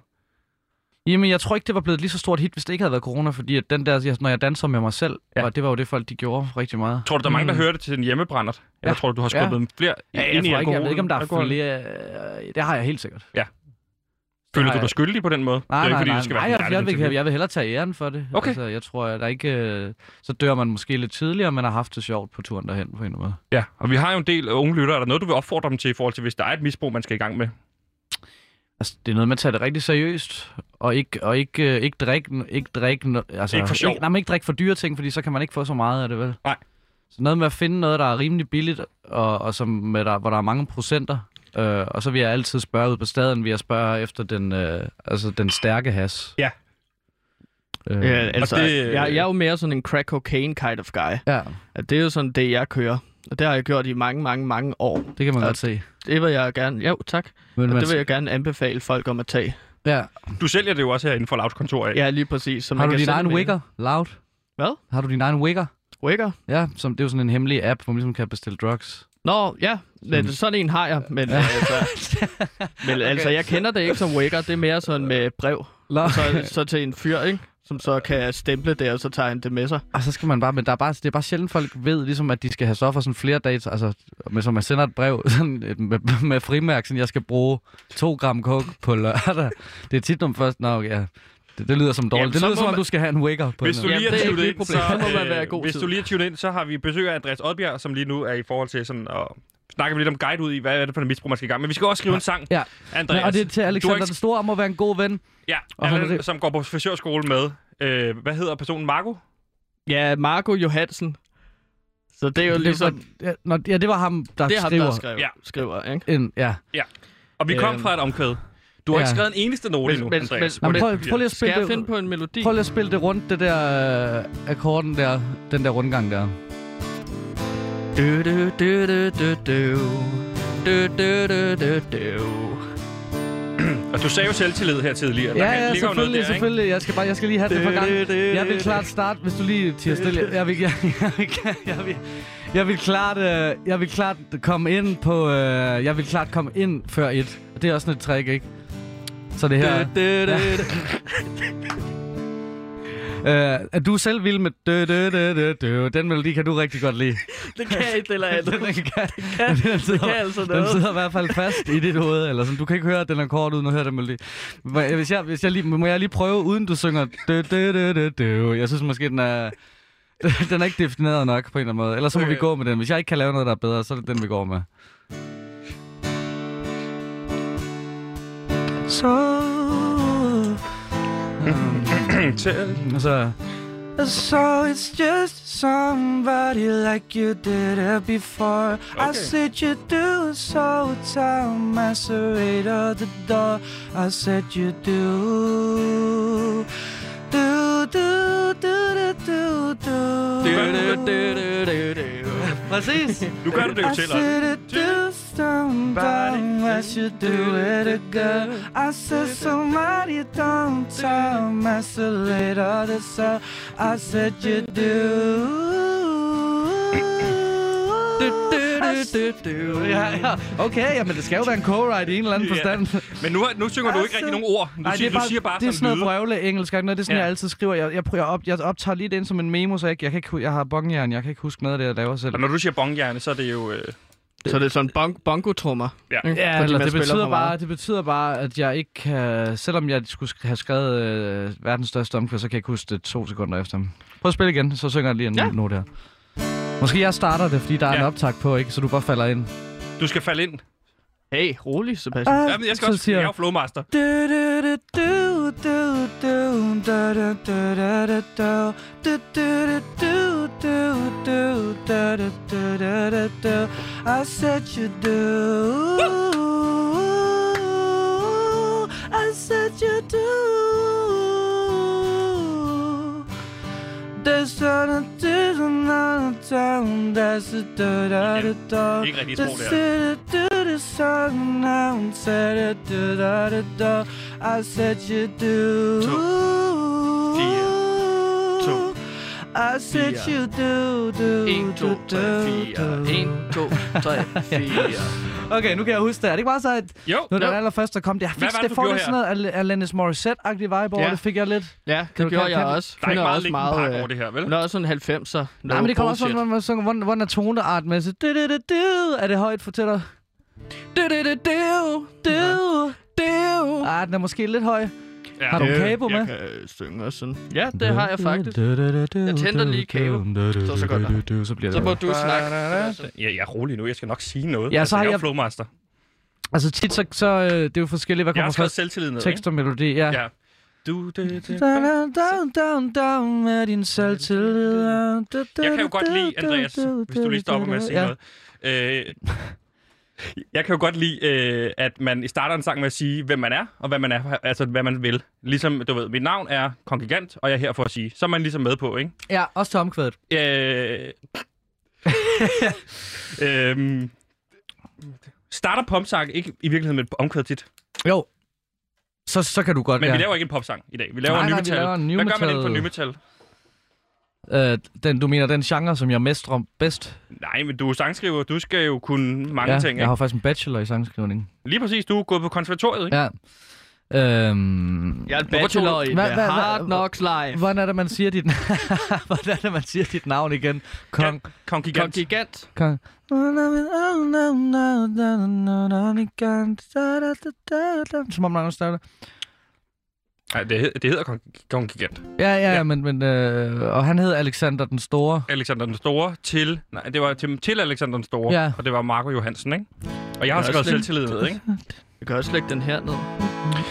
Speaker 3: Jamen, jeg tror ikke, det var blevet lige så stort hit, hvis det ikke havde været corona, fordi at den der, jeg- når jeg danser med mig selv,
Speaker 1: Ja.
Speaker 3: ja. var, det var jo det, folk de gjorde rigtig meget.
Speaker 1: Tror du, der er mange, der
Speaker 2: Mm.
Speaker 1: hører det til en hjemmebrændert? Eller
Speaker 3: Ja.
Speaker 1: tror du, du har skubbet
Speaker 3: Ja.
Speaker 1: dem flere
Speaker 3: jeg,
Speaker 1: ind i
Speaker 3: tror ikke, jeg
Speaker 1: alkoholen?
Speaker 3: ved ikke, om der er
Speaker 1: Alkohol?
Speaker 3: flere... Øh, det har jeg helt sikkert.
Speaker 1: Føler
Speaker 3: Nej.
Speaker 1: du dig skyldig på den måde?
Speaker 3: Nej,
Speaker 1: det er
Speaker 3: nej,
Speaker 1: ikke, fordi
Speaker 3: nej.
Speaker 1: det skal
Speaker 3: nej,
Speaker 1: være
Speaker 3: jeg,
Speaker 1: sådan en
Speaker 3: jeg,
Speaker 1: ærlig
Speaker 3: vil, jeg vil hellere tage æren for det.
Speaker 1: Okay.
Speaker 3: Altså, jeg tror, at der ikke... Øh, så dør man måske lidt tidligere, men har haft det sjovt på turen derhen på en eller anden måde.
Speaker 1: Ja, og vi har jo en del unge lyttere. Er der noget, du vil opfordre dem til i forhold til, hvis der er et misbrug, man skal i gang med?
Speaker 3: Altså, det er noget med at tage det rigtig seriøst, og ikke, og ikke, øh, ikke drikke... Ikke, drikke no- altså,
Speaker 1: Ikke for sjov.
Speaker 3: Ikke, nej, men ikke drikke for dyre ting, fordi så kan man ikke få så meget af det, vel?
Speaker 1: Nej.
Speaker 3: Så noget med at finde noget, der er rimelig billigt, og, og som med der, hvor der er mange procenter. Øh, og så vil jeg altid spørge ud på staden, vil jeg spørge efter den, øh, altså den stærke has.
Speaker 1: Ja.
Speaker 3: Øh,
Speaker 2: Ja, altså,
Speaker 1: det- øh,
Speaker 2: det... jeg, jeg er jo mere sådan en crack cocaine kind of guy.
Speaker 3: ja,
Speaker 2: At det er jo sådan det, jeg kører. Og det har jeg gjort i mange, mange, mange år.
Speaker 3: det kan man
Speaker 2: Ja.
Speaker 3: godt se.
Speaker 2: Det vil jeg gerne... Jo, tak.
Speaker 3: Men,
Speaker 2: Og
Speaker 3: man-
Speaker 2: det vil jeg gerne anbefale folk om at tage.
Speaker 3: Ja.
Speaker 1: Du sælger det jo også herinde for Lauts kontor af.
Speaker 2: Ja, lige præcis. Så
Speaker 3: Har
Speaker 2: man
Speaker 3: du
Speaker 2: kan
Speaker 3: din
Speaker 2: sende
Speaker 3: egen
Speaker 2: dem ind.
Speaker 3: wigger? Loud?
Speaker 2: Hvad?
Speaker 3: Har du din egen wigger?
Speaker 2: Wigger?
Speaker 3: Ja, som, det er jo sådan en hemmelig app, hvor man ligesom kan bestille drugs.
Speaker 2: Nå, ja. Men, sådan en har jeg, men, ja. altså, men altså, jeg kender det ikke som wigger. Det er mere sådan med brev.
Speaker 3: Nå.
Speaker 2: Så, så til en fyr, ikke? som så kan stemple det, og så tager han det med sig.
Speaker 3: Og så skal man bare, men der er bare, det er bare sjældent, folk ved, ligesom, at de skal have stoffer sådan flere dage, altså, men som man sender et brev sådan, et- med, med frimærk, sådan, jeg skal bruge to gram coke på lørdag. Det er tit om først, nå, okay, ja. Det, det lyder som dårligt.
Speaker 1: Jamen,
Speaker 3: det
Speaker 1: så
Speaker 3: lyder
Speaker 1: må
Speaker 3: som om,
Speaker 1: man-
Speaker 3: du skal have en wake up på
Speaker 1: Hvis
Speaker 3: en
Speaker 1: du
Speaker 3: eller
Speaker 1: lige
Speaker 2: Jamen,
Speaker 1: er
Speaker 2: det er
Speaker 1: tunet
Speaker 2: ikke
Speaker 1: ind,
Speaker 2: mit
Speaker 1: så,
Speaker 2: problem. Så må man være i
Speaker 1: øh,
Speaker 2: god
Speaker 1: hvis
Speaker 2: tid.
Speaker 1: du lige er tunet ind, så har vi besøg af Andreas Oddbjerg, som lige nu er i forhold til sådan at snakke lidt om guide ud i, hvad er det for en misbrug, man skal i gang med. Vi skal også skrive en sang,
Speaker 3: Ja. anden.
Speaker 1: Andreas.
Speaker 3: Ja, og det er til Alexander
Speaker 1: ikke-
Speaker 3: den Store om at være en god ven.
Speaker 1: Ja,
Speaker 3: Og
Speaker 1: Allan,
Speaker 3: han-
Speaker 1: som går på frisørskole med, øh, hvad hedder personen, Marco?
Speaker 2: Ja, Marco Johansen. Så det er jo ligesom...
Speaker 3: Det var, ja, nå, ja, det var ham, der
Speaker 2: Det er ham,
Speaker 3: skriver.
Speaker 2: der skriver.
Speaker 1: Ja.
Speaker 2: Ja. skriver ikke?
Speaker 3: En, ja.
Speaker 1: Og vi kom
Speaker 2: Øhm.
Speaker 1: fra et omkvæd. Du har
Speaker 3: Ja.
Speaker 1: ikke skrevet en eneste note
Speaker 2: Men-
Speaker 1: endnu,
Speaker 2: men-
Speaker 1: Andreas.
Speaker 2: men-
Speaker 3: Nå,
Speaker 2: Hvordan-
Speaker 3: prøv, prøv, lige at
Speaker 2: Skal
Speaker 3: spille
Speaker 2: jeg
Speaker 3: det,
Speaker 2: finde på en melodi?
Speaker 3: prøv lige at spille det rundt, det der øh, akkorden der, den der rundgang der.
Speaker 2: Du, du, du, du, du, du. Du, du, du, du, du.
Speaker 1: Og du sagde jo selvtillid her tidligere. Der
Speaker 3: Ja,
Speaker 1: kan-
Speaker 3: ja,
Speaker 1: ligger jo noget
Speaker 3: selvfølgelig,
Speaker 1: der, ikke?
Speaker 3: selvfølgelig. Jeg skal, bare, jeg skal lige have det et par gange. Jeg vil klart starte, hvis du lige tiger stille. Jeg vil, jeg, jeg, vil, jeg, vil, jeg vil klart, øh, jeg vil klart komme ind på, øh, jeg vil klart komme ind før et. Det er også sådan et trick, ikke? Så det her,
Speaker 2: Du, du, du, du.
Speaker 3: øh, er du selv vild med dø, dø, dø, dø, dø. Den melodi kan du rigtig godt lide.
Speaker 2: Det kan jeg ikke, eller andet.
Speaker 3: Den, kan,
Speaker 2: kan-
Speaker 3: den, sidder,
Speaker 2: kan altså
Speaker 3: den
Speaker 2: noget.
Speaker 3: sidder i hvert fald fast i dit hoved, eller sådan. Du kan ikke høre den akkord uden at høre den melodi. Må jeg- Hvis jeg, hvis jeg lige, må jeg lige prøve, uden du synger... Dø, dø, dø, dø, dø. Jeg synes måske, den er... Den er ikke defineret nok på en eller anden måde. Ellers så må vi
Speaker 1: Okay.
Speaker 3: gå med den. Hvis jeg ikke kan lave noget, der er bedre, så er det den, vi går med. Så... Um.
Speaker 1: Til-
Speaker 3: Og så... So it's just somebody like you did it before. I
Speaker 1: Okay.
Speaker 3: said you do, so tell masquerade at the door. I said you do. Do, do, do, do, do, do.
Speaker 1: Det-
Speaker 3: Præcis.
Speaker 1: Nu gør du det jo
Speaker 3: I
Speaker 1: til, Lotte.
Speaker 3: said it do somebody as you do it again. I said somebody don't tell masquerade at the door. I said you do. Ja, ja. Okay, jamen det skal jo være en co-write i en eller anden
Speaker 1: Ja.
Speaker 3: forstand.
Speaker 1: Men nu, nu synger du ikke rigtig nogen ord. Du,
Speaker 3: Nej,
Speaker 1: siger, du siger bare
Speaker 3: det er sådan
Speaker 1: sådan
Speaker 3: noget vrøvle engelsk, ikke? Noget, det er sådan,
Speaker 1: Ja.
Speaker 3: ja. jeg altid skriver. Jeg, jeg, prøver, jeg, op, jeg optager lige det ind som en memo, så jeg, ikke- jeg, kan ikke, hu- jeg har bongjern, jeg kan ikke huske noget af det, jeg laver selv.
Speaker 1: Og når du siger bongjerne, så er det jo... Øh,
Speaker 2: Så det er sådan bong, bongo-trummer.
Speaker 1: Ja.
Speaker 2: ikke?
Speaker 3: Ja,
Speaker 2: Fordi
Speaker 3: eller
Speaker 2: man
Speaker 3: det
Speaker 2: spiller
Speaker 3: betyder,
Speaker 2: for meget.
Speaker 3: bare, det betyder bare, at jeg ikke kan... Selvom jeg skulle sk- have skrevet øh, verdens største omkvæd, så kan jeg ikke huske det to sekunder efter. Prøv at spille igen, så synger jeg lige en
Speaker 2: Ja.
Speaker 3: ja. note her. Måske jeg starter det, fordi der er
Speaker 1: Ja.
Speaker 3: en optag på, ikke? Så du bare falder ind.
Speaker 1: Du skal falde ind.
Speaker 2: Hey, rolig, Sebastian.
Speaker 1: Ja, men jeg skal
Speaker 3: så
Speaker 1: også...
Speaker 3: siger
Speaker 1: Jeg er jo flowmaster.
Speaker 5: I said you do. I said you do. There's another there's another town. That's a da da da da.
Speaker 1: Ikke rigtig sprog,
Speaker 5: That's
Speaker 1: det
Speaker 5: it.
Speaker 1: her.
Speaker 5: Do the song now and said it. Do da da da. I said you do.
Speaker 1: To. Fire. To.
Speaker 5: I said
Speaker 2: Fire.
Speaker 5: you do. do
Speaker 2: 1, 2, 3, 4. 1, 2, 3, 4.
Speaker 3: Okay, nu kan jeg huske det. Er det ikke meget sejt?
Speaker 1: Jo.
Speaker 3: Nu er det
Speaker 2: Jo.
Speaker 3: den allerførste, der kom. Jeg
Speaker 1: Hvad
Speaker 3: fik
Speaker 1: var det,
Speaker 3: det
Speaker 1: du
Speaker 3: for
Speaker 1: gjorde
Speaker 3: lidt sådan noget Al- Alanis Morissette-agtig vibe over.
Speaker 2: Ja.
Speaker 3: Det fik jeg lidt.
Speaker 2: Ja,
Speaker 3: Kan
Speaker 2: det
Speaker 3: du-
Speaker 2: gjorde
Speaker 3: kan-
Speaker 2: jeg
Speaker 3: kan-
Speaker 2: også.
Speaker 1: Der er ikke meget
Speaker 2: også
Speaker 1: Linkin Park
Speaker 2: øh,
Speaker 1: over det her, vel?
Speaker 2: Hun er også sådan 90'er. No
Speaker 3: Nej, men det kommer også
Speaker 2: bullshit.
Speaker 3: sådan, man sådan, hvordan, hvordan er toneartmæssigt. Du, du, du, du. Er det højt, fortæl dig? Du, du, du, du, du, du. Ah, den er måske lidt høj.
Speaker 1: Ja.
Speaker 3: Har du
Speaker 2: Øh,
Speaker 3: kabo med?
Speaker 2: Jeg kan øh, synge også sådan. Ja, det har jeg faktisk. Jeg tænder lige kabo. Så- så går
Speaker 3: det. Så bliver
Speaker 2: Så
Speaker 3: det.
Speaker 2: må
Speaker 3: godt.
Speaker 2: du snakke. Sebastian.
Speaker 1: Ja, jeg er rolig nu. Jeg skal nok sige noget.
Speaker 3: Ja, så
Speaker 1: altså,
Speaker 3: har
Speaker 1: jeg er
Speaker 3: jeg-
Speaker 1: flowmaster.
Speaker 3: Altså tit, så, så øh, det er jo forskelligt, hvad
Speaker 1: Jeg har
Speaker 3: kommer
Speaker 1: skrevet
Speaker 3: først.
Speaker 1: selvtillid ned,
Speaker 3: Tekst og melodi, ja.
Speaker 1: ikke? Ja. Du, det, det.
Speaker 3: Down, down, down, down med din selvtillid.
Speaker 1: Jeg kan jo godt lide, Andreas, hvis du lige stopper med at sige noget. Øh, jeg kan jo godt lide, øh, at man starter en sang med at sige, hvem man er, og hvad man, er, altså, hvad man vil. Ligesom, du ved, mit navn er Kongigant, og jeg er her for at sige. Så er man ligesom med på, ikke?
Speaker 3: Ja, også til omkvædet.
Speaker 1: Øh... øhm... Starter popsang ikke i virkeligheden med et omkvæd tit,
Speaker 3: Jo. Så, så kan du godt,
Speaker 1: men ja.
Speaker 3: ja.
Speaker 1: vi laver ikke en popsang i dag. Vi laver
Speaker 3: Nej,
Speaker 1: en
Speaker 3: nej, vi
Speaker 1: nymetal.
Speaker 3: laver en new
Speaker 1: Hvad gør man inden for
Speaker 3: metal.
Speaker 1: nymetal?
Speaker 3: Øh, den, du mener den genre, som jeg mestrer bedst?
Speaker 1: Nej, men du er sangskriver, du skal jo kunne mange
Speaker 3: ja,
Speaker 1: ja, ting,
Speaker 3: jeg
Speaker 1: ikke?
Speaker 3: har faktisk en bachelor i sangskrivning.
Speaker 1: Lige præcis, du er gået på konservatoriet, ikke?
Speaker 3: Ja. Øhm,
Speaker 2: Jeg er en bachelor i
Speaker 3: Hvad-
Speaker 2: The
Speaker 3: hvad-
Speaker 2: Hard
Speaker 3: hvad-
Speaker 2: Knocks Life.
Speaker 3: Hvordan er det, man siger dit, hvordan er det, man siger dit navn igen? Kong.
Speaker 1: Ja. Kongigant.
Speaker 2: Kom gigant.
Speaker 3: Kong. Som om man starter.
Speaker 1: Nej, det, hed- det hedder Kong- Kongigant.
Speaker 3: Ja, ja,
Speaker 1: Ja.
Speaker 3: ja, men, men øh, og han hed Alexander den Store.
Speaker 1: Alexander den Store til... Nej, det var til, til Alexander den Store,
Speaker 3: Ja.
Speaker 1: og det var Marco Johansen, ikke? Og jeg har
Speaker 2: Det er
Speaker 1: skrevet
Speaker 2: også lidt-
Speaker 1: selvtillid ned, ikke?
Speaker 2: Jeg kan også lægge den her ned.